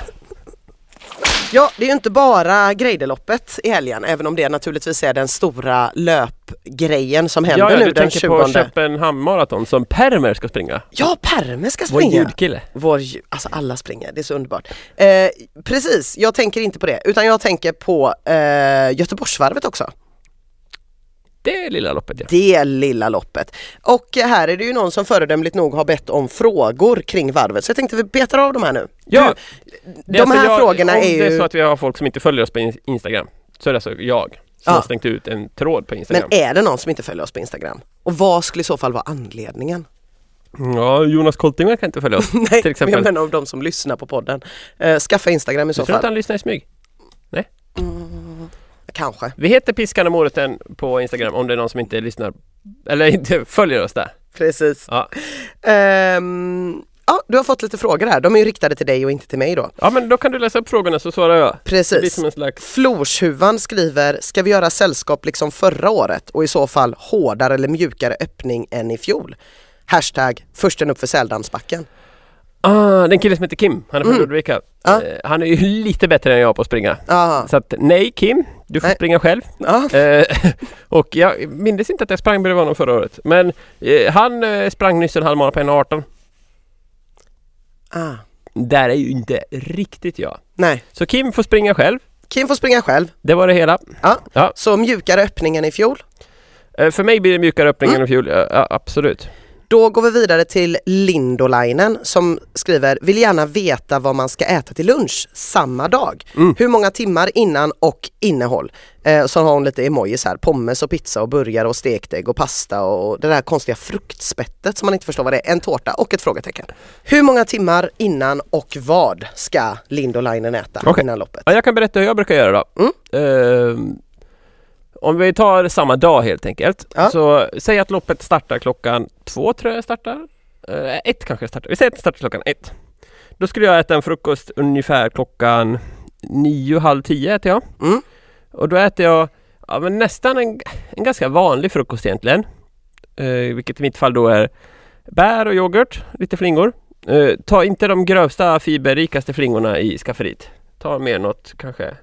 Speaker 1: Ja, det är ju inte bara Grejdeloppet i helgen, även om det naturligtvis är den stora löpgrejen som händer
Speaker 2: ja, ja,
Speaker 1: nu
Speaker 2: du
Speaker 1: den
Speaker 2: tänker
Speaker 1: 20.
Speaker 2: på Köpenhamn Marathon som Permer ska springa.
Speaker 1: Ja, Perme ska
Speaker 2: Vår
Speaker 1: springa!
Speaker 2: ljudkille.
Speaker 1: Vår, ju- alltså alla springer, det är så underbart. Eh, precis, jag tänker inte på det, utan jag tänker på eh, Göteborgsvarvet också.
Speaker 2: Det är lilla loppet ja.
Speaker 1: Det lilla loppet. Och eh, här är det ju någon som föredömligt nog har bett om frågor kring varvet, så jag tänkte vi betar av de här nu.
Speaker 2: Ja,
Speaker 1: de här frågorna
Speaker 2: alltså, om
Speaker 1: är
Speaker 2: det är
Speaker 1: ju-
Speaker 2: så att vi har folk som inte följer oss på in- Instagram så är det alltså jag som
Speaker 1: Ja.
Speaker 2: har slängt ut en tråd på
Speaker 1: Men
Speaker 2: Instagram.
Speaker 1: är det någon som inte följer oss på Instagram? Och vad skulle i så fall vara anledningen? (laughs)
Speaker 2: Ja, Jonas Kolting kan inte följa oss.
Speaker 1: Nej,
Speaker 2: till exempel.
Speaker 1: men jag menar av de som lyssnar på podden. Eh, skaffa Instagram i så
Speaker 2: Jag tror att
Speaker 1: fall.
Speaker 2: han lyssnar i smyg.
Speaker 1: Kanske.
Speaker 2: Vi heter Piskan och moroten på Instagram om det är någon som inte lyssnar eller inte följer oss där.
Speaker 1: Precis.
Speaker 2: Ja.
Speaker 1: Ehm, ja, du har fått lite frågor här. De är ju riktade till dig och inte till mig då.
Speaker 2: Ja men då kan du läsa upp frågorna så svarar jag. Det blir
Speaker 1: Precis.
Speaker 2: som en slags...
Speaker 1: Florshuvan skriver, ska vi göra sällskap liksom förra året och i så fall hårdare eller mjukare öppning än i fjol? Hashtag försten upp för säldansbacken.
Speaker 2: Ah, den killen som heter Kim, han är från Ludvika.
Speaker 1: Mm. Ja.
Speaker 2: Eh, han är ju lite bättre än jag på att springa.
Speaker 1: Ja,
Speaker 2: Så att nej Kim, du får
Speaker 1: Nej.
Speaker 2: springa själv.
Speaker 1: ja,
Speaker 2: Eh, (laughs) och jag minns inte att jag sprang bredvid honom förra året. Men eh, han eh, sprang nyss en halvmara på 1,18.
Speaker 1: ah,
Speaker 2: Där är ju inte riktigt jag.
Speaker 1: nej.
Speaker 2: Så Kim får springa själv.
Speaker 1: Kim får springa själv.
Speaker 2: Det var det hela.
Speaker 1: Så mjukare öppning än i fjol.
Speaker 2: Eh, för mig blir det mjukare
Speaker 1: Mm.
Speaker 2: öppning än i fjol, ja, ja, absolut.
Speaker 1: Då går vi vidare till Lindolainen som skriver vill gärna veta vad man ska äta till lunch samma dag. Hur många timmar innan och innehåll. Eh, så har hon lite emojis här, pommes och pizza och burgare och stekt ägg och pasta och det där konstiga fruktspettet som man inte förstår vad det är. En tårta och ett frågetecken. Hur många timmar innan och vad ska Lindolainen äta
Speaker 2: Okej.
Speaker 1: innan loppet?
Speaker 2: Ja, jag kan berätta hur jag brukar göra då.
Speaker 1: Mm.
Speaker 2: Ehm, om vi tar samma dag helt enkelt.
Speaker 1: Ja.
Speaker 2: Så säg att loppet startar klockan två tror jag det startar. Eh, ett kanske det startar. Vi säger att det startar klockan ett. Då skulle jag äta en frukost ungefär klockan nio, halv tio äter jag.
Speaker 1: Mm.
Speaker 2: Och då äter jag ja, men nästan en, en ganska vanlig frukost egentligen. Eh, vilket i mitt fall då är bär och yoghurt, lite flingor. Eh, ta inte de grövsta fiberrikaste flingorna i skafferiet. Ta mer något kanske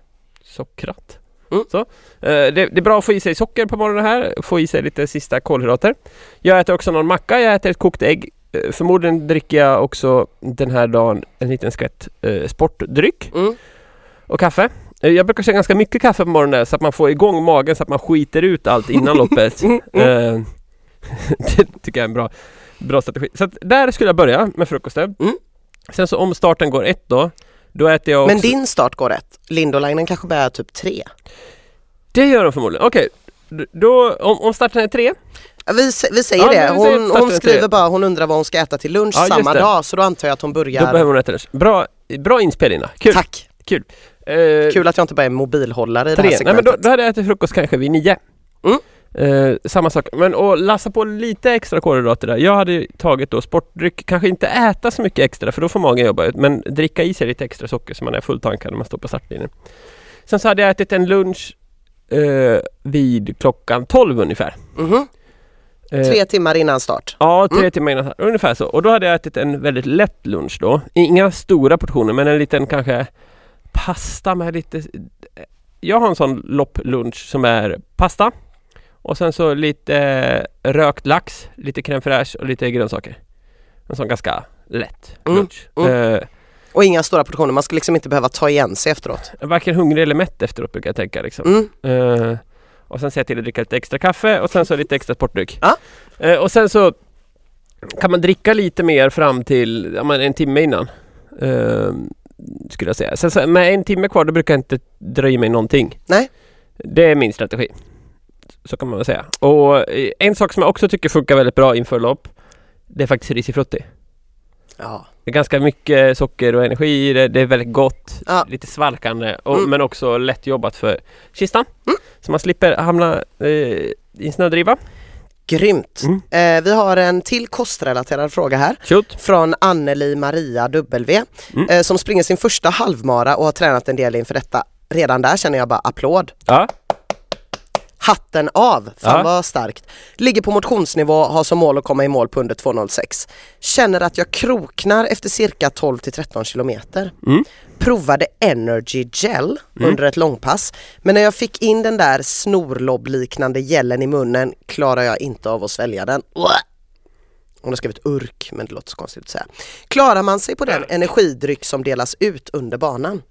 Speaker 2: sockrat.
Speaker 1: Mm.
Speaker 2: Så. Eh, det, det är bra att få i sig socker på morgonen här, få i sig lite sista kolhydrater. Jag äter också någon macka, jag äter ett kokt ägg. Eh, förmodligen dricker jag också den här dagen en liten skvätt eh, sportdryck
Speaker 1: Mm.
Speaker 2: och kaffe. Eh, Jag brukar köra ganska mycket kaffe på morgonen där, så att man får igång magen så att man skiter ut allt
Speaker 1: (laughs)
Speaker 2: innan loppet. Eh, (laughs) det tycker jag är en bra, bra strategi. Så att där skulle jag börja med frukosten.
Speaker 1: Mm.
Speaker 2: Sen så om starten går ett då, då äter jag också...
Speaker 1: Men din start går rätt. Lindolainen kanske börjar typ tre.
Speaker 2: Det gör de förmodligen. Okej, d- då, om, om starten är tre,
Speaker 1: Vi, sä- vi säger
Speaker 2: Ja,
Speaker 1: det,
Speaker 2: men vi säger
Speaker 1: hon,
Speaker 2: starten
Speaker 1: hon
Speaker 2: är
Speaker 1: skriver
Speaker 2: tre.
Speaker 1: bara hon undrar vad hon ska äta till lunch
Speaker 2: Ja, just
Speaker 1: samma
Speaker 2: det.
Speaker 1: dag så då antar jag att hon
Speaker 2: då
Speaker 1: börjar.
Speaker 2: behöver hon rätta lunch. Bra, bra inspel Lina, kul!
Speaker 1: Tack!
Speaker 2: Kul! Eh,
Speaker 1: Kul att jag inte bara är mobilhållare i det här
Speaker 2: tre. Nej, men
Speaker 1: segmentet.
Speaker 2: då, då hade jag ätit frukost kanske vid nio.
Speaker 1: Mm.
Speaker 2: Eh, samma sak, men och lassa på lite extra kolhydrater där. Jag hade ju tagit då sportdryck, kanske inte äta så mycket extra för då får magen jobba ut, men dricka i sig lite extra socker så man är fulltankad när man står på startlinjen. Sen så hade jag ätit en lunch eh, vid klockan 12 ungefär.
Speaker 1: Mhm.
Speaker 2: Eh,
Speaker 1: Tre timmar innan start.
Speaker 2: Ja, tre
Speaker 1: Mm.
Speaker 2: timmar innan. Ungefär så. Och då hade jag ätit en väldigt lätt lunch då. Inga stora portioner, men en liten kanske pasta med lite... Jag har en sån lopplunch som är pasta. Och sen så lite eh, rökt lax, lite crème fraîche och lite grönsaker. En sån ganska lätt
Speaker 1: Mm,
Speaker 2: lunch. Eh,
Speaker 1: Och inga stora portioner, man ska liksom inte behöva ta igen sig efteråt.
Speaker 2: jag är varken hungrig eller mätt efteråt brukar jag tänka liksom.
Speaker 1: Mm.
Speaker 2: Eh, och sen ser jag till att dricka lite extra kaffe och sen så lite extra sportdryck.
Speaker 1: Ja.
Speaker 2: Eh, och sen så kan man dricka lite mer fram till ja, men en timme innan. Eh, skulle jag säga. Sen så, med en timme kvar då brukar jag inte dra i mig någonting.
Speaker 1: Nej.
Speaker 2: Det är min strategi. Så kan man väl säga. Och eh, en sak som jag också tycker funkar väldigt bra inför lopp det är faktiskt risifrutti.
Speaker 1: Ja.
Speaker 2: Det är ganska mycket socker och energi i det. Det är väldigt gott,
Speaker 1: Ja.
Speaker 2: lite svalkande och,
Speaker 1: Mm.
Speaker 2: men också lätt jobbat för kistan. Så man slipper hamna eh, i en snödriva.
Speaker 1: Grymt!
Speaker 2: Mm.
Speaker 1: Eh, vi har en till kostrelaterad fråga här.
Speaker 2: Shoot.
Speaker 1: från Anneli Maria W
Speaker 2: Mm.
Speaker 1: eh, som springer sin första halvmara och har tränat en del inför detta. Redan där känner jag bara applåd.
Speaker 2: Ja.
Speaker 1: Hatten av, fan
Speaker 2: Ja.
Speaker 1: vad starkt. Ligger på motionsnivå, har som mål att komma i mål på under 2.06. Känner att jag kroknar efter cirka 12 till 13 kilometer.
Speaker 2: Mm.
Speaker 1: Provade Energy Gel under ett långpass men när jag fick in den där snorlobbliknande gelen i munnen klarar jag inte av att svälja den. Uah! Hon har skrivit urk men det låter så konstigt att säga. Klarar man sig på den energidryck som delas ut under banan?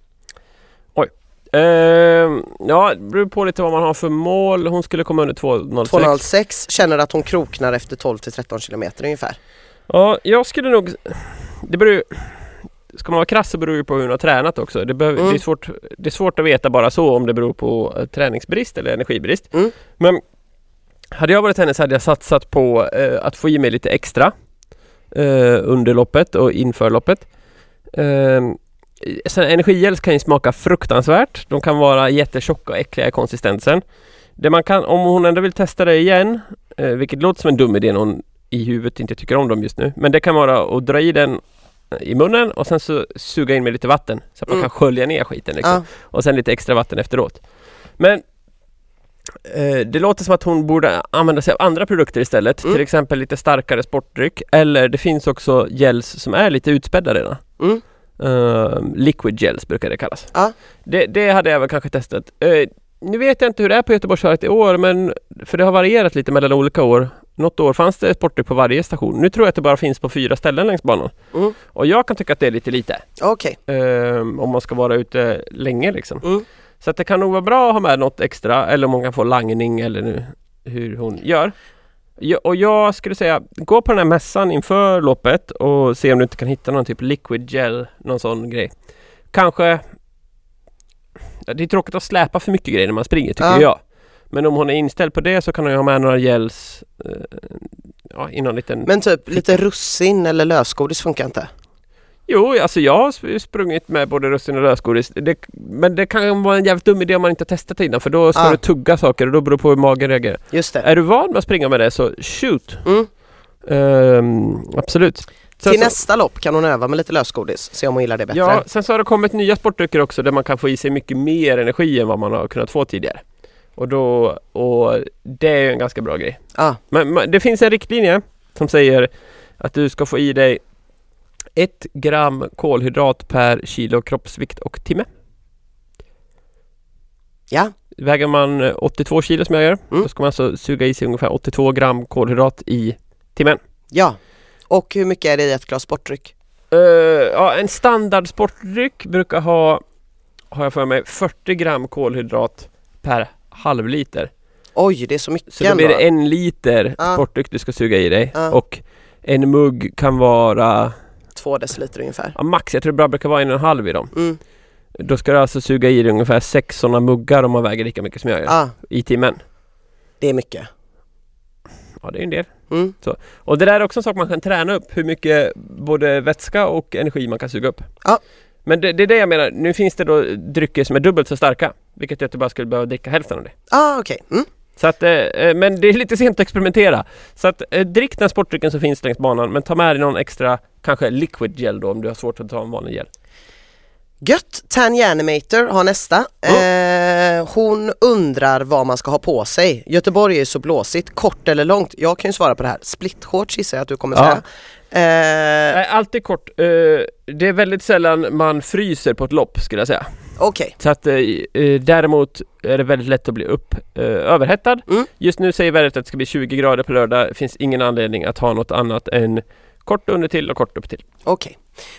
Speaker 2: Ehm, ja, det beror på lite vad man har för mål. Hon skulle komma under 2.06.
Speaker 1: 2.06 känner att hon kroknar efter 12 till 13 kilometer ungefär.
Speaker 2: Ja, jag skulle nog... Det beror ju... Ska man vara krass så beror det ju på hur hon har tränat också. Det, behöver,
Speaker 1: Mm.
Speaker 2: det, är svårt, det är svårt att veta bara så om det beror på eh, träningsbrist eller energibrist.
Speaker 1: Mm.
Speaker 2: Men hade jag varit henne så hade jag satsat på eh, att få i mig lite extra eh, under loppet och inför loppet. Eh, sen energigels kan ju smaka fruktansvärt. De kan vara jättetjocka och äckliga i konsistensen. Det man kan, om hon ändå vill testa det igen, eh, vilket låter som en dum idé när hon i huvudet inte tycker om dem just nu. Men det kan vara att dra i den eh, i munnen och sen så suga in med lite vatten så att man
Speaker 1: Mm.
Speaker 2: kan skölja ner skiten liksom.
Speaker 1: Ja.
Speaker 2: Och sen lite extra vatten efteråt. Men eh, det låter som att hon borde använda sig av andra produkter istället.
Speaker 1: Mm.
Speaker 2: Till exempel lite starkare sportdryck. Eller det finns också gels som är lite utspädda redan.
Speaker 1: Mm.
Speaker 2: Eh, liquid gels brukar det kallas.
Speaker 1: Ja.
Speaker 2: Det, det hade jag väl kanske testat. Eh, nu vet jag inte hur det är på Göteborgsvarvet i år, men för det har varierat lite mellan olika år. Något år fanns det sportdryck på varje station. Nu tror jag att det bara finns på fyra ställen längs banan.
Speaker 1: Mm.
Speaker 2: Och jag kan tycka att det är lite lite.
Speaker 1: Okej.
Speaker 2: eh, om man ska vara ute länge liksom.
Speaker 1: Mm.
Speaker 2: Så att det kan nog vara bra att ha med något extra eller om hon kan få langning eller nu, hur hon gör. Ja, och jag skulle säga, gå på den här mässan inför loppet och se om du inte kan hitta någon typ liquid gel, någon sån grej. Kanske... Ja, Det är tråkigt att släpa för mycket grejer när man springer tycker
Speaker 1: Ja.
Speaker 2: jag. Men om hon är inställd på det så kan hon ju ha med några gels eh, ja, i någon liten...
Speaker 1: Men typ lite russin eller lösgodis funkar inte?
Speaker 2: Jo, alltså jag har sp- sprungit med både russin och lösgodis. Det, men det kan vara en jävligt dum idé om man inte har testat det innan för då ska
Speaker 1: Ah.
Speaker 2: du tugga saker och då beror det på hur magen reagerar.
Speaker 1: Just det.
Speaker 2: Är du van med att springa med det så shoot!
Speaker 1: Mm.
Speaker 2: Ehm, absolut. Sen
Speaker 1: Till
Speaker 2: så-
Speaker 1: nästa lopp kan hon öva med lite lösgodis, se om hon gillar det bättre.
Speaker 2: Ja, sen så har det kommit nya sportdrycker också där man kan få i sig mycket mer energi än vad man har kunnat få tidigare. Och, då, och det är ju en ganska bra grej.
Speaker 1: Ja.
Speaker 2: Men, men det finns en riktlinje som säger att du ska få i dig 1 gram kolhydrat per kilo kroppsvikt och timme.
Speaker 1: Ja.
Speaker 2: Väger man eh, 82 kilo som jag gör,
Speaker 1: Mm.
Speaker 2: då ska man alltså suga i sig ungefär 82 gram kolhydrat i timmen.
Speaker 1: ja. Och hur mycket är det i ett glas sportdryck?
Speaker 2: Eh, ja, en standard sportdryck brukar ha, har jag för mig, 40 gram kolhydrat per halvliter.
Speaker 1: Oj, det är så mycket
Speaker 2: Så då blir
Speaker 1: ändå.
Speaker 2: det en liter
Speaker 1: Ja.
Speaker 2: sportdryck du ska suga i dig
Speaker 1: Ja.
Speaker 2: och en mugg kan vara,
Speaker 1: Två deciliter ungefär.
Speaker 2: ja, max, jag tror det bara brukar vara en och en halv i dem.
Speaker 1: Mm.
Speaker 2: Då ska du alltså suga i dig ungefär sex sådana muggar om man väger lika mycket som jag gör
Speaker 1: Ja.
Speaker 2: i timmen.
Speaker 1: Det är mycket.
Speaker 2: Ja, det är ju en del.
Speaker 1: Mm.
Speaker 2: Så. Och det där är också en sak man kan träna upp, hur mycket både vätska och energi man kan suga upp.
Speaker 1: Ja.
Speaker 2: Men det, det är det jag menar, nu finns det då drycker som är dubbelt så starka, vilket gör att du bara skulle behöva dricka hälften av det.
Speaker 1: Ah, okej. Mm.
Speaker 2: Så att, eh, eh, men det är lite sent att experimentera. Så att eh, drick den sportdrycken som finns längs banan, men ta med dig någon extra, kanske liquid gel då om du har svårt att ta en vanlig gel.
Speaker 1: Gött! Tanjanimator har nästa.
Speaker 2: Mm.
Speaker 1: Eh, hon undrar vad man ska ha på sig. Göteborg är ju så blåsigt, kort eller långt. Jag kan ju svara på det här. Splitshorts gissar jag att du kommer
Speaker 2: Ja.
Speaker 1: säga. Eh,
Speaker 2: Nej, alltid kort. Eh, det är väldigt sällan man fryser på ett lopp skulle jag säga.
Speaker 1: Okej,
Speaker 2: Så att eh, eh, däremot är det väldigt lätt att bli upp, eh, överhettad.
Speaker 1: Mm.
Speaker 2: Just nu säger vädret att det ska bli 20 grader på lördag. Det finns ingen anledning att ha något annat än kort under till och kort upp till.
Speaker 1: okej.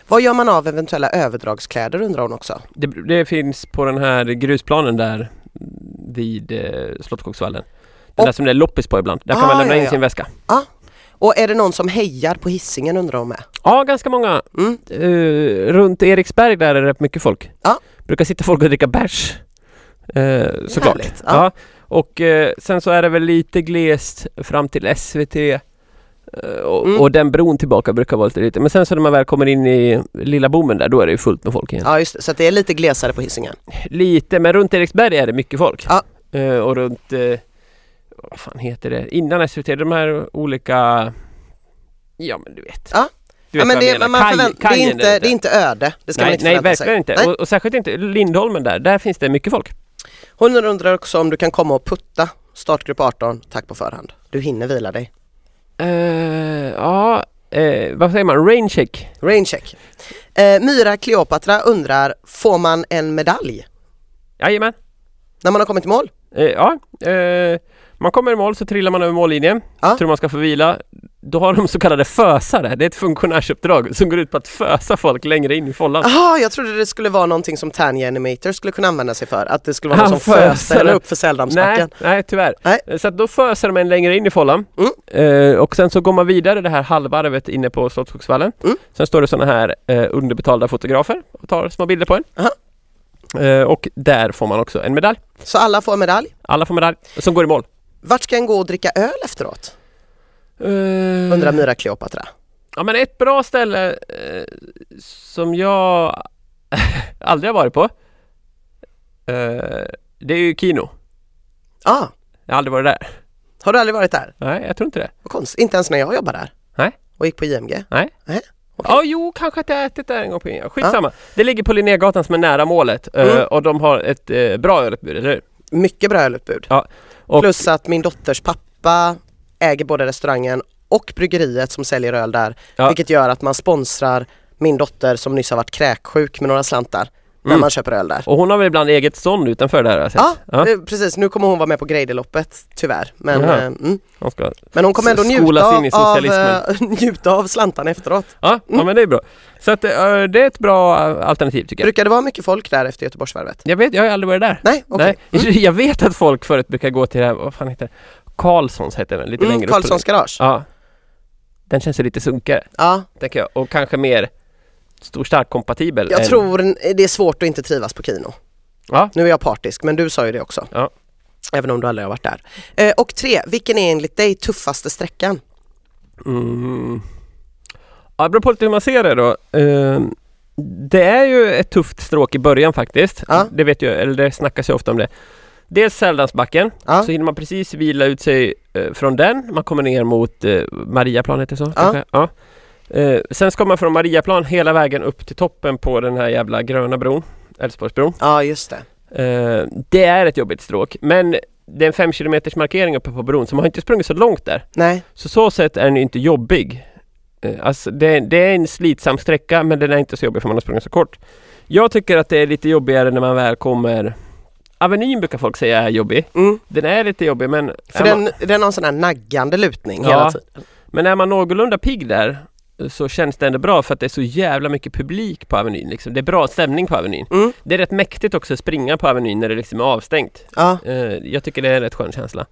Speaker 1: Vad gör man av eventuella överdragskläder undrar hon också.
Speaker 2: Det, det finns på den här grusplanen där vid eh, Slottskogsvallen. Den
Speaker 1: Och-
Speaker 2: där som det är loppis på ibland. Där kan
Speaker 1: Ah,
Speaker 2: man lämna
Speaker 1: ja,
Speaker 2: in
Speaker 1: ja.
Speaker 2: sin väska.
Speaker 1: Och är det någon som hejar på hissingen undrar hon med.
Speaker 2: Ja, ganska många.
Speaker 1: Mm.
Speaker 2: Eh, runt Eriksberg där är det rätt mycket folk.
Speaker 1: Ja.
Speaker 2: Brukar sitta folk och dricka bärs. Eh, såklart.
Speaker 1: Härligt, ja.
Speaker 2: Ja. Och eh, sen så är det väl lite glest fram till SVT. eh, Och,
Speaker 1: Mm.
Speaker 2: och den bron tillbaka brukar vara lite lite. Men sen så när man väl kommer in i lilla bommen där, då är det ju fullt med folk igen.
Speaker 1: Ja just det, så att det är lite glesare på hissingen.
Speaker 2: Lite, men runt Eriksberg är det mycket folk.
Speaker 1: Ja.
Speaker 2: Eh, och runt, eh, vad fan heter det, innan SVT, de här olika, ja men du vet.
Speaker 1: Ja.
Speaker 2: Du vet
Speaker 1: ja, men
Speaker 2: vad jag
Speaker 1: det,
Speaker 2: menar.
Speaker 1: man
Speaker 2: Kaj-
Speaker 1: förvänt- det,
Speaker 2: kajen
Speaker 1: är inte,
Speaker 2: där.
Speaker 1: det är inte öde, det ska man
Speaker 2: nej,
Speaker 1: inte
Speaker 2: nej,
Speaker 1: förvänta
Speaker 2: verkligen
Speaker 1: sig.
Speaker 2: inte.
Speaker 1: Nej.
Speaker 2: Och, och särskilt inte Lindholmen där, där finns det mycket folk.
Speaker 1: Hon undrar också om du kan komma och putta startgrupp 18, tack på förhand. Du hinner vila dig.
Speaker 2: Eh, ja, eh, vad säger man, raincheck?
Speaker 1: Raincheck. Eh, Myra Kleopatra undrar, får man en medalj
Speaker 2: Jajamän.
Speaker 1: när man har kommit i mål?
Speaker 2: Eh, ja, eh, man kommer i mål så trillar man över mållinjen,
Speaker 1: Ja.
Speaker 2: tror man ska få vila. Då har de så kallade fösare, det är ett funktionärsuppdrag som går ut på att fösa folk längre in i fållan.
Speaker 1: Jaha, jag trodde det skulle vara någonting som Tanya Animator skulle kunna använda sig för. Att det skulle vara någon som
Speaker 2: Han
Speaker 1: föser
Speaker 2: föser.
Speaker 1: upp för
Speaker 2: Nej,
Speaker 1: Säldamsbacken.
Speaker 2: nej tyvärr.
Speaker 1: Nej. Mm.
Speaker 2: Eh, Så att då föser de en längre in i fållan. Eh, och sen så går man vidare det här halvvarvet inne på Slottsskogsvallen.
Speaker 1: Mm.
Speaker 2: Sen står det sådana här eh, underbetalda fotografer och tar små bilder på en.
Speaker 1: Aha.
Speaker 2: Eh, och där får man också en medalj.
Speaker 1: Så alla får en medalj.
Speaker 2: Alla får medalj, som går i mål.
Speaker 1: Vart ska en gå och dricka öl efteråt?
Speaker 2: Mm.
Speaker 1: Undrar Myra Kleopatra.
Speaker 2: Eh, Ja men ett bra ställe eh, som jag (laughs) aldrig har varit på. Eh, det är ju Kino.
Speaker 1: Ah,
Speaker 2: Jag har aldrig varit där.
Speaker 1: har du aldrig varit där?
Speaker 2: Nej, jag tror inte det.
Speaker 1: Vad konstigt, inte ens när jag jobbade där.
Speaker 2: Nej.
Speaker 1: Och gick på IMG.
Speaker 2: Nej.
Speaker 1: Nej, okej.
Speaker 2: Ja, jo, kanske att jag ätit där en gång på Inga. Skitsamma. Det ligger på Linnégatan som är nära målet eh,
Speaker 1: Mm.
Speaker 2: och de har ett eh, bra ölutbud, eller hur?
Speaker 1: Mycket bra ölutbud.
Speaker 2: Ja. Och,
Speaker 1: Plus att min dotters pappa äger både restaurangen och bryggeriet som säljer öl där.
Speaker 2: Ja.
Speaker 1: Vilket gör att man sponsrar min dotter som nyss har varit kräksjuk med några slantar när
Speaker 2: Mm.
Speaker 1: man köper öl där.
Speaker 2: och hon har väl ibland eget stånd utanför där har jag sett.
Speaker 1: Ja,
Speaker 2: Ja.
Speaker 1: eh, precis. Nu kommer hon vara med på Grejdeloppet tyvärr. Men,
Speaker 2: Jaha.
Speaker 1: eh, mm.
Speaker 2: Hon ska...
Speaker 1: men hon kommer ändå
Speaker 2: S-
Speaker 1: njuta
Speaker 2: skolas in
Speaker 1: av,
Speaker 2: i
Speaker 1: av,
Speaker 2: socialismen.
Speaker 1: eh, (laughs) njuta av slantarna efteråt.
Speaker 2: ja, ja, men det är bra. Så att, eh, det är ett bra eh, alternativ tycker jag.
Speaker 1: Brukar det vara mycket folk där efter Göteborgsvarvet?
Speaker 2: Jag vet, jag har aldrig varit där.
Speaker 1: Nej, okej. Mm,
Speaker 2: Nej. (laughs) Jag vet att folk förut brukar gå till det här, vad fan heter det? Karlssons heter den, lite
Speaker 1: Mm,
Speaker 2: längre
Speaker 1: Karlssons
Speaker 2: upp.
Speaker 1: garage?
Speaker 2: Ja. Den känns ju lite sunkare,
Speaker 1: Ja,
Speaker 2: tänker jag. Och kanske mer stor stark kompatibel.
Speaker 1: jag
Speaker 2: än-
Speaker 1: tror det är svårt att inte trivas på Kino.
Speaker 2: Ja.
Speaker 1: Nu är jag partisk, men du sa ju det också.
Speaker 2: Ja.
Speaker 1: Även om du aldrig har varit där. Eh, och tre, vilken är enligt dig tuffaste sträckan?
Speaker 2: Mm. Ja, det beror på lite hur man ser det då. Ehm, det är ju ett tufft stråk i början faktiskt.
Speaker 1: Ja.
Speaker 2: Det vet jag, eller det snackas ju ofta om det. Dels Säldansbacken,
Speaker 1: Ja.
Speaker 2: så hinner man precis vila ut sig eh, från den. Man kommer ner mot eh, Mariaplan, heter det så? kanske? Ja. Eh, sen ska man från Mariaplan hela vägen upp till toppen på den här jävla gröna bron, Älvsborgsbron.
Speaker 1: Ja, just det.
Speaker 2: Eh, det är ett jobbigt stråk, men det är en 5 km markering uppe på bron, så man har inte sprungit så långt där.
Speaker 1: Nej,
Speaker 2: Så så sätt är den ju inte jobbig. Eh, Alltså det, det är en slitsam sträcka men den är inte så jobbig för man har sprungit så kort. Jag tycker att det är lite jobbigare när man väl kommer Avenyn brukar folk säga är jobbig.
Speaker 1: mm.
Speaker 2: Den är lite jobbig men
Speaker 1: för
Speaker 2: är man,
Speaker 1: den, den har en sån här naggande lutning
Speaker 2: Ja.
Speaker 1: hela tiden.
Speaker 2: men är man någorlunda pigg där eh, så känns det ändå bra för att det är så jävla mycket publik på Avenyn. Liksom. Det är bra stämning på Avenyn.
Speaker 1: Mm.
Speaker 2: Det är rätt mäktigt också att springa på Avenyn när det liksom är avstängt.
Speaker 1: Ja,
Speaker 2: Eh, jag tycker det är en rätt skön känsla.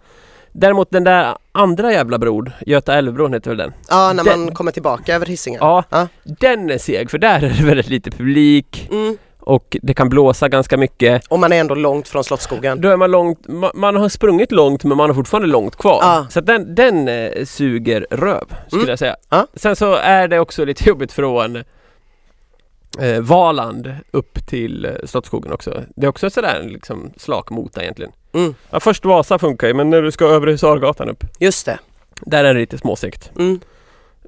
Speaker 2: Däremot den där andra jävla bron, Göta älvbron heter väl den?
Speaker 1: ja när
Speaker 2: Den-
Speaker 1: man kommer tillbaka över Hisingen.
Speaker 2: Ja,
Speaker 1: Ja.
Speaker 2: den är seg för där är det väldigt lite publik
Speaker 1: Mm.
Speaker 2: och det kan blåsa ganska mycket.
Speaker 1: Om man är ändå långt från Slottsskogen.
Speaker 2: Då är man långt, ma- man har sprungit långt men man har fortfarande långt kvar.
Speaker 1: Ja.
Speaker 2: Så att den, den eh, suger röv skulle
Speaker 1: Mm.
Speaker 2: jag säga.
Speaker 1: Ja.
Speaker 2: Sen så är det också lite (laughs) jobbigt från eh, Valand upp till eh, Slottsskogen också. Det är också sådär en liksom slak mota egentligen.
Speaker 1: Mm,
Speaker 2: Ja, först Vasa funkar ju men när du ska över Husargatan upp,
Speaker 1: just det.
Speaker 2: där är det lite småsegt.
Speaker 1: Mm.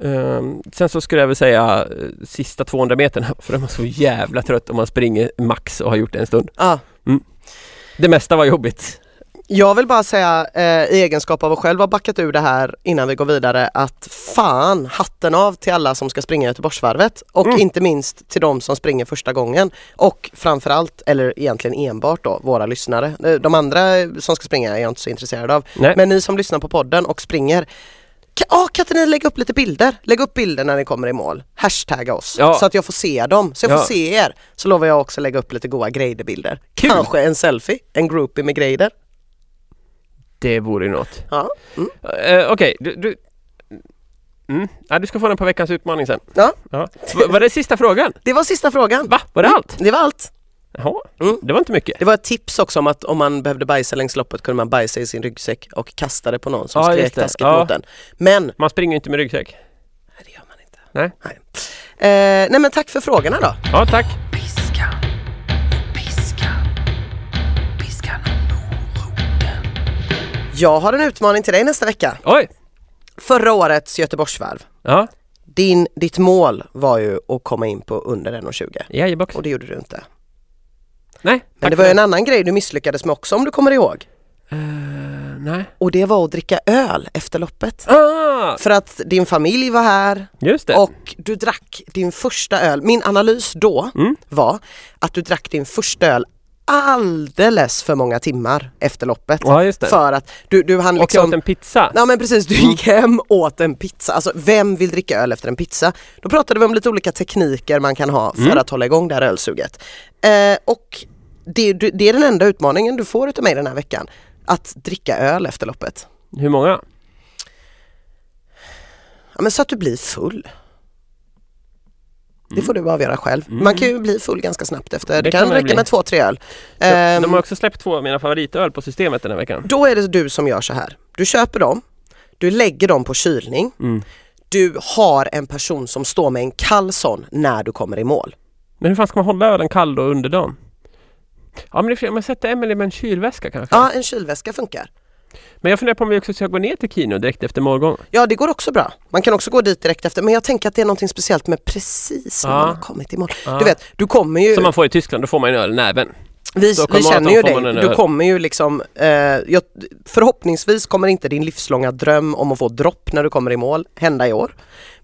Speaker 2: Ehm, sen så skulle jag väl säga eh, sista 200 meterna (laughs) för då är man så jävla trött om man springer max och har gjort det en stund.
Speaker 1: Ja.
Speaker 2: Det mesta var jobbigt.
Speaker 1: Jag vill bara säga eh, i egenskap av att själv ha backat ur det här innan vi går vidare att fan, hatten av till alla som ska springa Göteborgsvarvet och
Speaker 2: Mm.
Speaker 1: inte minst till de som springer första gången och framförallt, eller egentligen enbart då, våra lyssnare. Eh, De andra som ska springa är jag inte så intresserad av.
Speaker 2: Nej.
Speaker 1: Men ni som lyssnar på podden och springer Ka- ja, kan inte ni lägga upp lite bilder? Lägg upp bilder när ni kommer i mål. Hashtagga oss
Speaker 2: Ja.
Speaker 1: så att jag får se dem, så jag
Speaker 2: Ja.
Speaker 1: får se er. Så lovar jag också lägga upp lite goa Greider-bilder.
Speaker 2: Kul.
Speaker 1: Kanske en selfie, en groupie med Greider.
Speaker 2: Det vore ju något.
Speaker 1: Ja. Mm.
Speaker 2: Eh, Okej, du... du... Mm. Ja, du ska få den på veckans utmaning sen.
Speaker 1: Ja. Mm.
Speaker 2: Va- var det sista frågan?
Speaker 1: Det var sista frågan.
Speaker 2: Va? Var det allt?
Speaker 1: Det var allt.
Speaker 2: Jaha,
Speaker 1: Mm.
Speaker 2: det var inte mycket.
Speaker 1: Det var ett tips också om att om man behövde bajsa längs loppet kunde man bajsa i sin ryggsäck och kasta det på någon som
Speaker 2: Ja,
Speaker 1: skrek
Speaker 2: just det.
Speaker 1: taskigt
Speaker 2: Ja.
Speaker 1: mot den. Men, nej
Speaker 2: Man springer ju inte med ryggsäck.
Speaker 1: det gör man inte.
Speaker 2: Nej.
Speaker 1: Nej. Eh, nej men tack för frågorna då.
Speaker 2: Ja, tack.
Speaker 3: Piskan, piskan, piskan och moroten.
Speaker 1: Jag har en utmaning till dig nästa vecka.
Speaker 2: Oj!
Speaker 1: Förra årets Göteborgsvarv.
Speaker 2: Ja,
Speaker 1: Din, ditt mål var ju att komma in på under 1,20
Speaker 2: jajebox.
Speaker 1: och det gjorde du inte.
Speaker 2: Nej, tack
Speaker 1: Men det
Speaker 2: för
Speaker 1: var ju en annan grej du misslyckades med också om du kommer ihåg.
Speaker 2: Eh, Nej.
Speaker 1: Och det var att dricka öl efter loppet.
Speaker 2: Ah!
Speaker 1: För att din familj var här,
Speaker 2: Just det.
Speaker 1: Och du drack din första öl, min analys då
Speaker 2: Mm.
Speaker 1: var att du drack din första öl alldeles för många timmar efter loppet.
Speaker 2: Ja, just det.
Speaker 1: För att du, du hann
Speaker 2: Och jag åt
Speaker 1: liksom...
Speaker 2: en pizza. Mm.
Speaker 1: Ja men precis, du gick hem åt en pizza. Alltså vem vill dricka öl efter en pizza? Då pratade vi om lite olika tekniker man kan ha för
Speaker 2: Mm.
Speaker 1: att hålla igång det här ölsuget. Eh, och det, du- det är den enda utmaningen du får utav mig den här veckan. Att dricka öl efter loppet.
Speaker 2: Hur många?
Speaker 1: Ja, men så att du blir full. Det får du avgöra själv. Man kan ju bli full ganska snabbt efter. Det,
Speaker 2: Mm. Det
Speaker 1: kan
Speaker 2: kan man
Speaker 1: räcka
Speaker 2: bli.
Speaker 1: med två, tre öl.
Speaker 2: De-
Speaker 1: Ehm,
Speaker 2: De har också släppt två av mina favoritöl på systemet den här veckan.
Speaker 1: Då är det du som gör så här. Du köper dem, du lägger dem på kylning.
Speaker 2: Mm.
Speaker 1: Du har en person som står med en kall sån när du kommer i mål.
Speaker 2: Men hur fan ska man hålla ölen kall då under dagen? Ja men det är fel. man sätter Emelie med en kylväska kanske?
Speaker 1: Ja, en kylväska funkar.
Speaker 2: Men jag funderar på om vi också ska gå ner till Kino direkt efter morgon.
Speaker 1: Ja, det går också bra. Man kan också gå dit direkt efter. Men jag tänker att det är någonting speciellt med precis när
Speaker 2: Ja.
Speaker 1: man har kommit i mål. Du vet, du kommer ju...
Speaker 2: Som man får i Tyskland, då får man en öl i näven.
Speaker 1: Vi, vi
Speaker 2: Stockholm
Speaker 1: känner
Speaker 2: Marathon
Speaker 1: ju
Speaker 2: får man
Speaker 1: dig,
Speaker 2: en
Speaker 1: du
Speaker 2: öl.
Speaker 1: kommer ju liksom, eh, jag, förhoppningsvis kommer inte din livslånga dröm om att få dropp när du kommer i mål hända i år.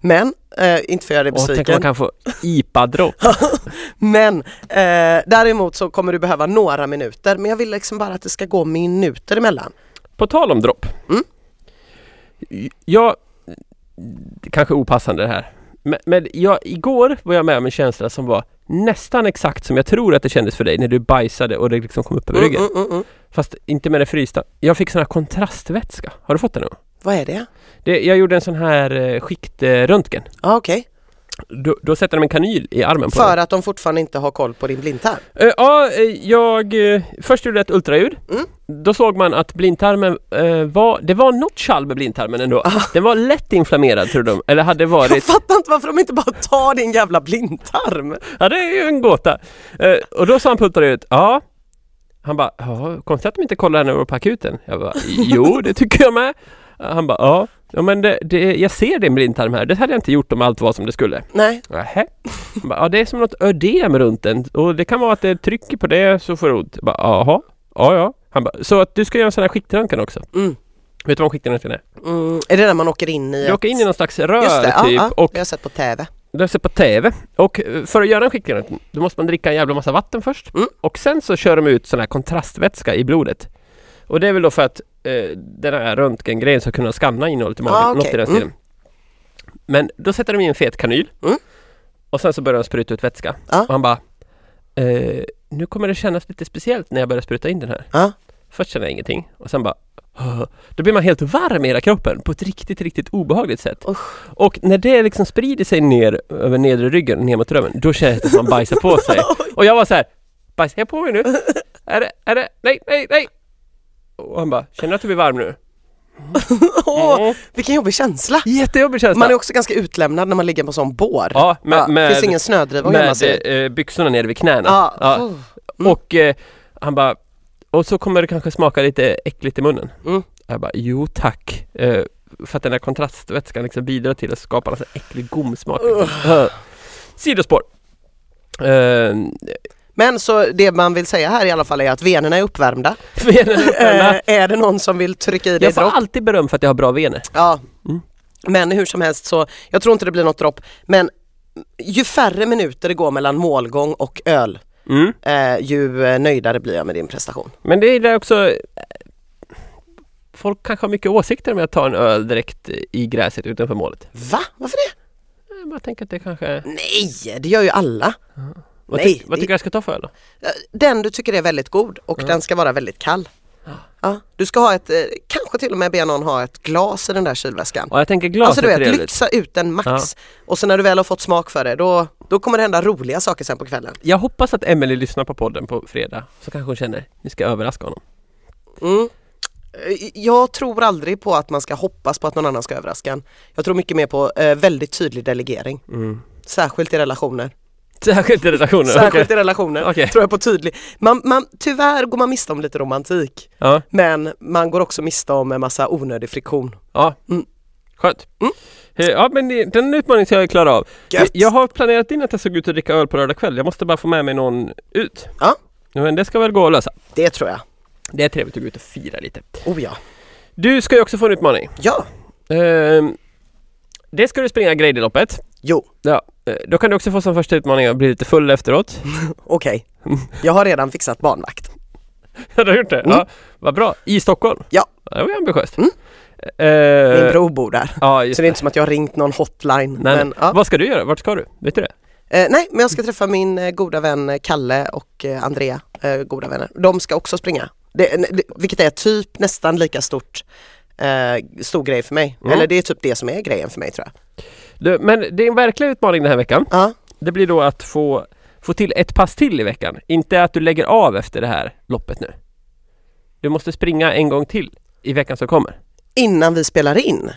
Speaker 1: Men, eh, inte för att göra dig
Speaker 2: Och tänk om
Speaker 1: besviken,
Speaker 2: man kan få IPA-dropp.
Speaker 1: (laughs) men eh, däremot så kommer du behöva några minuter men jag vill liksom bara att det ska gå minuter emellan.
Speaker 2: På tal om dropp.
Speaker 1: Mm.
Speaker 2: Jag... Det kanske är opassande det här. Men, men jag, igår var jag med om en känsla som var nästan exakt som jag tror att det kändes för dig när du bajsade och det liksom kom upp över
Speaker 1: Mm,
Speaker 2: ryggen.
Speaker 1: mm, mm, mm.
Speaker 2: Fast inte med det frysta. Jag fick sån här kontrastvätska. Har du fått det någon gång?
Speaker 1: Vad är det?
Speaker 2: Det, jag gjorde en sån här eh, skiktröntgen.
Speaker 1: Ja okej,
Speaker 2: Då, då sätter de en kanyl i armen på dig.
Speaker 1: för att de fortfarande inte har koll på din blindtarm.
Speaker 2: Eh, Ja, eh, jag... eh, Först gjorde jag ett ultraljud.
Speaker 1: Mm.
Speaker 2: Då såg man att blindtarmen eh, var... Det var något tjall med blindtarmen ändå.
Speaker 1: Ah.
Speaker 2: Den var lätt inflammerad tror de. Eller hade
Speaker 1: Jag (laughs)
Speaker 2: varit...
Speaker 1: fattar inte varför de inte bara tar din jävla blindtarm.
Speaker 2: Ja, det är ju en gåta. Eh, Och då sa han på ultraljudet, ja. Han bara, ja, konstigt att de inte kollar när vi var på akuten. Jag bara, jo, det tycker jag med. Han bara, ja. Ja men det, det, jag ser din blindtarm här, det hade jag inte gjort om allt var som det skulle.
Speaker 1: Nej,
Speaker 2: Nähä? Han bara, Ja det är som något ödem runt den och det kan vara att det trycker på det så får du ont. Jag bara, Jaha, ja ja. Han bara, så att du ska göra en sån här skiktröntgen också?
Speaker 1: Mm.
Speaker 2: Vet du vad en skiktröntgen är?
Speaker 1: mm, är det där man åker in i?
Speaker 2: Du åker in i någon slags rör
Speaker 1: Just det, ja,
Speaker 2: typ
Speaker 1: ja, det
Speaker 2: och
Speaker 1: har jag sett på TV.
Speaker 2: det ser på TV. Och eh, för att göra en skiktröntgen då måste man dricka en jävla massa vatten först
Speaker 1: Mm.
Speaker 2: och sen så kör de ut sån här kontrastvätska i blodet. Och det är väl då för att eh, den här röntgengrejen ska kunna skanna innehållet i magen,
Speaker 1: Ah, okej.
Speaker 2: något i den
Speaker 1: Mm.
Speaker 2: stilen. Men då sätter de in en fet kanyl
Speaker 1: Mm. Ah.
Speaker 2: och sen så börjar de spruta ut vätska.
Speaker 1: Ja.
Speaker 2: Och han bara eh, Nu kommer det kännas lite speciellt när jag börjar spruta in den här.
Speaker 1: Ja.
Speaker 2: Först känner jag ingenting och sen bara Då blir man helt varm i hela kroppen på ett riktigt, riktigt obehagligt sätt. Och när det liksom sprider sig ner över nedre ryggen, ner mot röven, då känns det som att man bajsar
Speaker 1: (laughs)
Speaker 2: på sig. Och jag var så här, bajsar jag på mig nu? Är det, är det, nej, nej, nej! Och han bara, känner du att du blir varm nu?
Speaker 1: Åh,
Speaker 2: Mm.
Speaker 1: vilken jobbig känsla!
Speaker 2: Jättejobbig känsla!
Speaker 1: Man är också ganska utlämnad när man ligger på sån bår.
Speaker 2: Ja, med, med,
Speaker 1: finns ingen snödriva att gömma
Speaker 2: med
Speaker 1: sig i.
Speaker 2: eh, byxorna nere vid knäna.
Speaker 1: Ja.
Speaker 2: Ja.
Speaker 1: Oh. Mm.
Speaker 2: Och eh, han bara, och så kommer det kanske smaka lite äckligt i munnen.
Speaker 1: Mm.
Speaker 2: Jag bara, jo tack. Eh, för att den här kontrastvätskan liksom bidrar till att skapa en sån äcklig gomsmak. Liksom. Eh, Sidospår. Eh, (laughs)
Speaker 1: Men så det man vill säga här i alla fall är att venerna är uppvärmda.
Speaker 2: venerna.
Speaker 1: (laughs) Eh, är det någon som vill trycka i dig
Speaker 2: jag
Speaker 1: ett
Speaker 2: får
Speaker 1: dropp?
Speaker 2: alltid beröm för att jag har bra vener.
Speaker 1: Ja.
Speaker 2: Mm.
Speaker 1: Men hur som helst så, jag tror inte det blir något dropp. Men ju färre minuter det går mellan målgång och öl,
Speaker 2: Mm.
Speaker 1: eh, ju eh, nöjdare blir jag med din prestation.
Speaker 2: Men det är där också eh, Folk kanske har mycket åsikter om jag tar en öl direkt i gräset utanför målet.
Speaker 1: Va? Varför det?
Speaker 2: Jag bara tänker att det kanske...
Speaker 1: Nej, det gör ju alla.
Speaker 2: Vad,
Speaker 1: Nej,
Speaker 2: tyck, vad
Speaker 1: det-
Speaker 2: tycker jag ska ta för öl då?
Speaker 1: Den du tycker är väldigt god och den ska vara väldigt kall. Ja, du ska ha ett, eh, kanske till och med be någon ha ett glas i den där kylväskan.
Speaker 2: Ja, jag tänker glas
Speaker 1: alltså du
Speaker 2: är
Speaker 1: vet,
Speaker 2: trevligt.
Speaker 1: lyxa ut den max. Och sen när du väl har fått smak för det, då, då kommer det hända roliga saker sen på kvällen.
Speaker 2: Jag hoppas att Emily lyssnar på podden på fredag så kanske hon känner nu ska jag överraska honom. (laughs)
Speaker 1: Mm. Eh, Jag tror aldrig på att man ska hoppas på att någon annan ska överraska en. Jag tror mycket mer på eh, väldigt tydlig delegering. Särskilt i relationer.
Speaker 2: Särskilt i relationer.
Speaker 1: Särskilt
Speaker 2: Mm. (laughs) okej.
Speaker 1: i relationer
Speaker 2: Okej.
Speaker 1: tror jag på tydlig. Man, man, tyvärr går man miste om lite romantik.
Speaker 2: Ja,
Speaker 1: Men man går också miste om en massa onödig friktion.
Speaker 2: ja.
Speaker 1: Mm.
Speaker 2: Skönt. Eh, Ja men det- den utmaningen ska jag klara av.
Speaker 1: Gött.
Speaker 2: Jag har planerat in att jag ska gå ut och dricka öl på lördag kväll. Jag måste bara få med mig någon ut.
Speaker 1: Ja.
Speaker 2: Men det ska väl gå att lösa.
Speaker 1: Det tror jag.
Speaker 2: Det är trevligt att gå ut och fira lite.
Speaker 1: Oh ja.
Speaker 2: Du ska ju också få en utmaning.
Speaker 1: Ja.
Speaker 2: Ehm, det ska du springa Grejdeloppet.
Speaker 1: Jo,
Speaker 2: Ja. eh, Då kan du också få som första utmaning att bli lite full efteråt. (laughs)
Speaker 1: okej. Jag har redan fixat barnvakt.
Speaker 2: Ja, du (laughs) har gjort det? Ja, vad bra. I Stockholm?
Speaker 1: Mm. Ja.
Speaker 2: Det var ju ambitiöst.
Speaker 1: Mm. Min
Speaker 2: Eh,
Speaker 1: bror bor där.
Speaker 2: Ja, just
Speaker 1: Så det är inte som att jag har ringt någon hotline.
Speaker 2: Nej,
Speaker 1: men,
Speaker 2: nej.
Speaker 1: Ja.
Speaker 2: Vad ska du göra? Vart ska du? Vet du det?
Speaker 1: Eh, nej, men jag ska träffa min eh, goda vän eh, Kalle och eh, Andrea, eh, goda vänner. De ska också springa. Det, n- det, vilket är typ nästan lika stort, eh, stor grej för mig.
Speaker 2: Mm.
Speaker 1: Eller det är typ det som är grejen för mig tror jag.
Speaker 2: Du, men din verkliga utmaning den här veckan,
Speaker 1: Ja,
Speaker 2: det blir då att få, få till ett pass till i veckan. Inte att du lägger av efter det här loppet nu. Du måste springa en gång till i veckan som kommer.
Speaker 1: innan vi spelar in.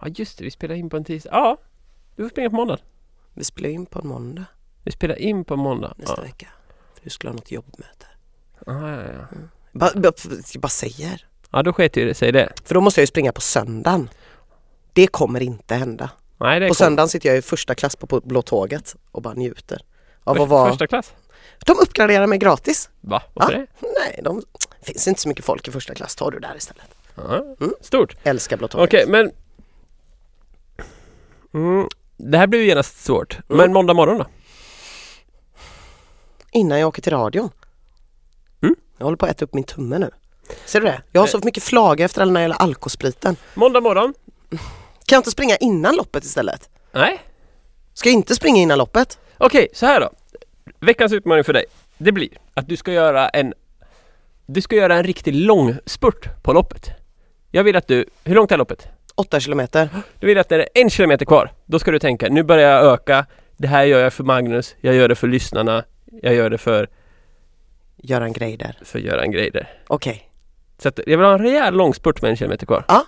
Speaker 2: Ja just det, vi spelar in på en tisdag. Ja, du får springa på måndag.
Speaker 1: Vi spelar in på en måndag
Speaker 2: Vi spelar in på måndag.
Speaker 1: nästa
Speaker 2: Ja.
Speaker 1: vecka. För du skulle ha något jobbmöte.
Speaker 2: Ja, Ah, ja, ja.
Speaker 1: Bara, bara, jag bara säger.
Speaker 2: ja, då sket ju det sig det.
Speaker 1: För då måste jag ju springa på söndagen. Det kommer inte hända.
Speaker 2: Nej, det
Speaker 1: På
Speaker 2: kom.
Speaker 1: söndagen sitter jag i första klass på Blå Tåget och bara njuter. Av att
Speaker 2: Först,
Speaker 1: vara...
Speaker 2: Första klass?
Speaker 1: De uppgraderar mig gratis.
Speaker 2: Va? Varför
Speaker 1: Ja.
Speaker 2: det?
Speaker 1: Nej, de det finns inte så mycket folk i första klass. Tar du där istället.
Speaker 2: Ja.
Speaker 1: Mm.
Speaker 2: Stort.
Speaker 1: Älskar Blå Tåget.
Speaker 2: Okej, men... Mm. Det här blir ju genast svårt. Men måndag morgon då?
Speaker 1: Innan jag åker till radion.
Speaker 2: Mm. Eh.
Speaker 1: Jag håller på att äta upp min tumme nu. Ser du det? Jag har så mycket flaga efter all den här alkospriten.
Speaker 2: Måndag morgon?
Speaker 1: Kan jag inte springa innan loppet istället?
Speaker 2: Nej.
Speaker 1: Ska jag inte springa innan loppet?
Speaker 2: Okej, så här då. Veckans utmaning för dig, det blir att du ska göra en... Du ska göra en riktigt lång spurt på loppet. Jag vill att du... Hur långt är loppet?
Speaker 1: 8 kilometer.
Speaker 2: Du vill att när det är en kilometer kvar, då ska du tänka nu börjar jag öka, det här gör jag för Magnus, jag gör det för lyssnarna, jag gör det för,
Speaker 1: Göra en grej där.
Speaker 2: för Göran Greider.
Speaker 1: Okej.
Speaker 2: Så att jag vill ha en rejäl lång spurt med en kilometer kvar.
Speaker 1: Ja.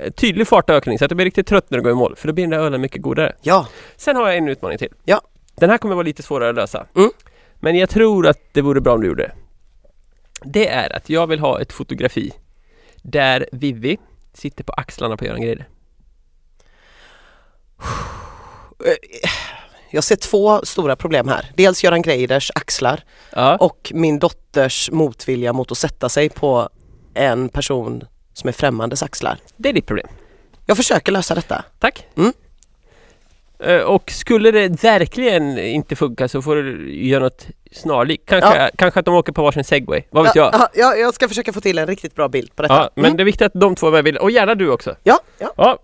Speaker 2: Eh, Tydlig fartökning så att du blir riktigt trött när du går i mål, för då blir den där ölen mycket godare.
Speaker 1: Ja.
Speaker 2: Sen har jag en utmaning till.
Speaker 1: Ja.
Speaker 2: Den här kommer vara lite svårare att lösa.
Speaker 1: Mm.
Speaker 2: Men jag tror att det vore bra om du gjorde det. Det är att jag vill ha ett fotografi där Vivi sitter på axlarna på Göran Greider.
Speaker 1: Jag ser två stora problem här. Dels Göran Greiders axlar
Speaker 2: Ja.
Speaker 1: och min dotters motvilja mot att sätta sig på en person som är främmandes axlar.
Speaker 2: Det är ditt problem.
Speaker 1: Jag försöker lösa detta.
Speaker 2: Tack.
Speaker 1: Mm.
Speaker 2: Eh, Och skulle det verkligen inte funka så får du göra något snarlikt. Kanske, kanske att de åker på varsin segway. Vad vet jag?
Speaker 1: Ja, ja, jag ska försöka få till en riktigt bra bild på detta.
Speaker 2: Ja, men
Speaker 1: Mm.
Speaker 2: det är viktigt att de två är med i bilden. Och gärna du också.
Speaker 1: ja, ja.
Speaker 2: Ja,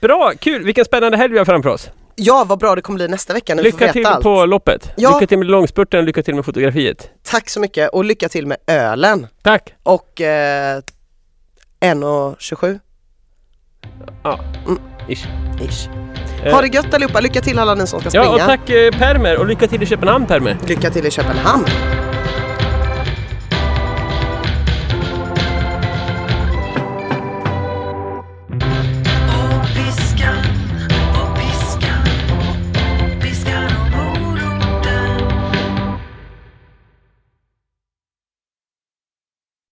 Speaker 2: bra, kul, vilken spännande helg vi har framför oss.
Speaker 1: Ja, vad bra det kommer bli nästa vecka när vi får
Speaker 2: Lycka
Speaker 1: veta
Speaker 2: till
Speaker 1: allt.
Speaker 2: på loppet!
Speaker 1: Ja.
Speaker 2: Lycka till med långspurten och lycka till med fotografiet.
Speaker 1: Tack så mycket och lycka till med ölen
Speaker 2: Tack!
Speaker 1: och eh, 1,27
Speaker 2: Ja,
Speaker 1: Mm.
Speaker 2: ish.
Speaker 1: ish.
Speaker 2: Eh,
Speaker 1: Ha det gött allihopa, lycka till alla ni som ska springa.
Speaker 2: Ja, och tack eh, Permer och lycka till i Köpenhamn Permer.
Speaker 1: Lycka till i Köpenhamn.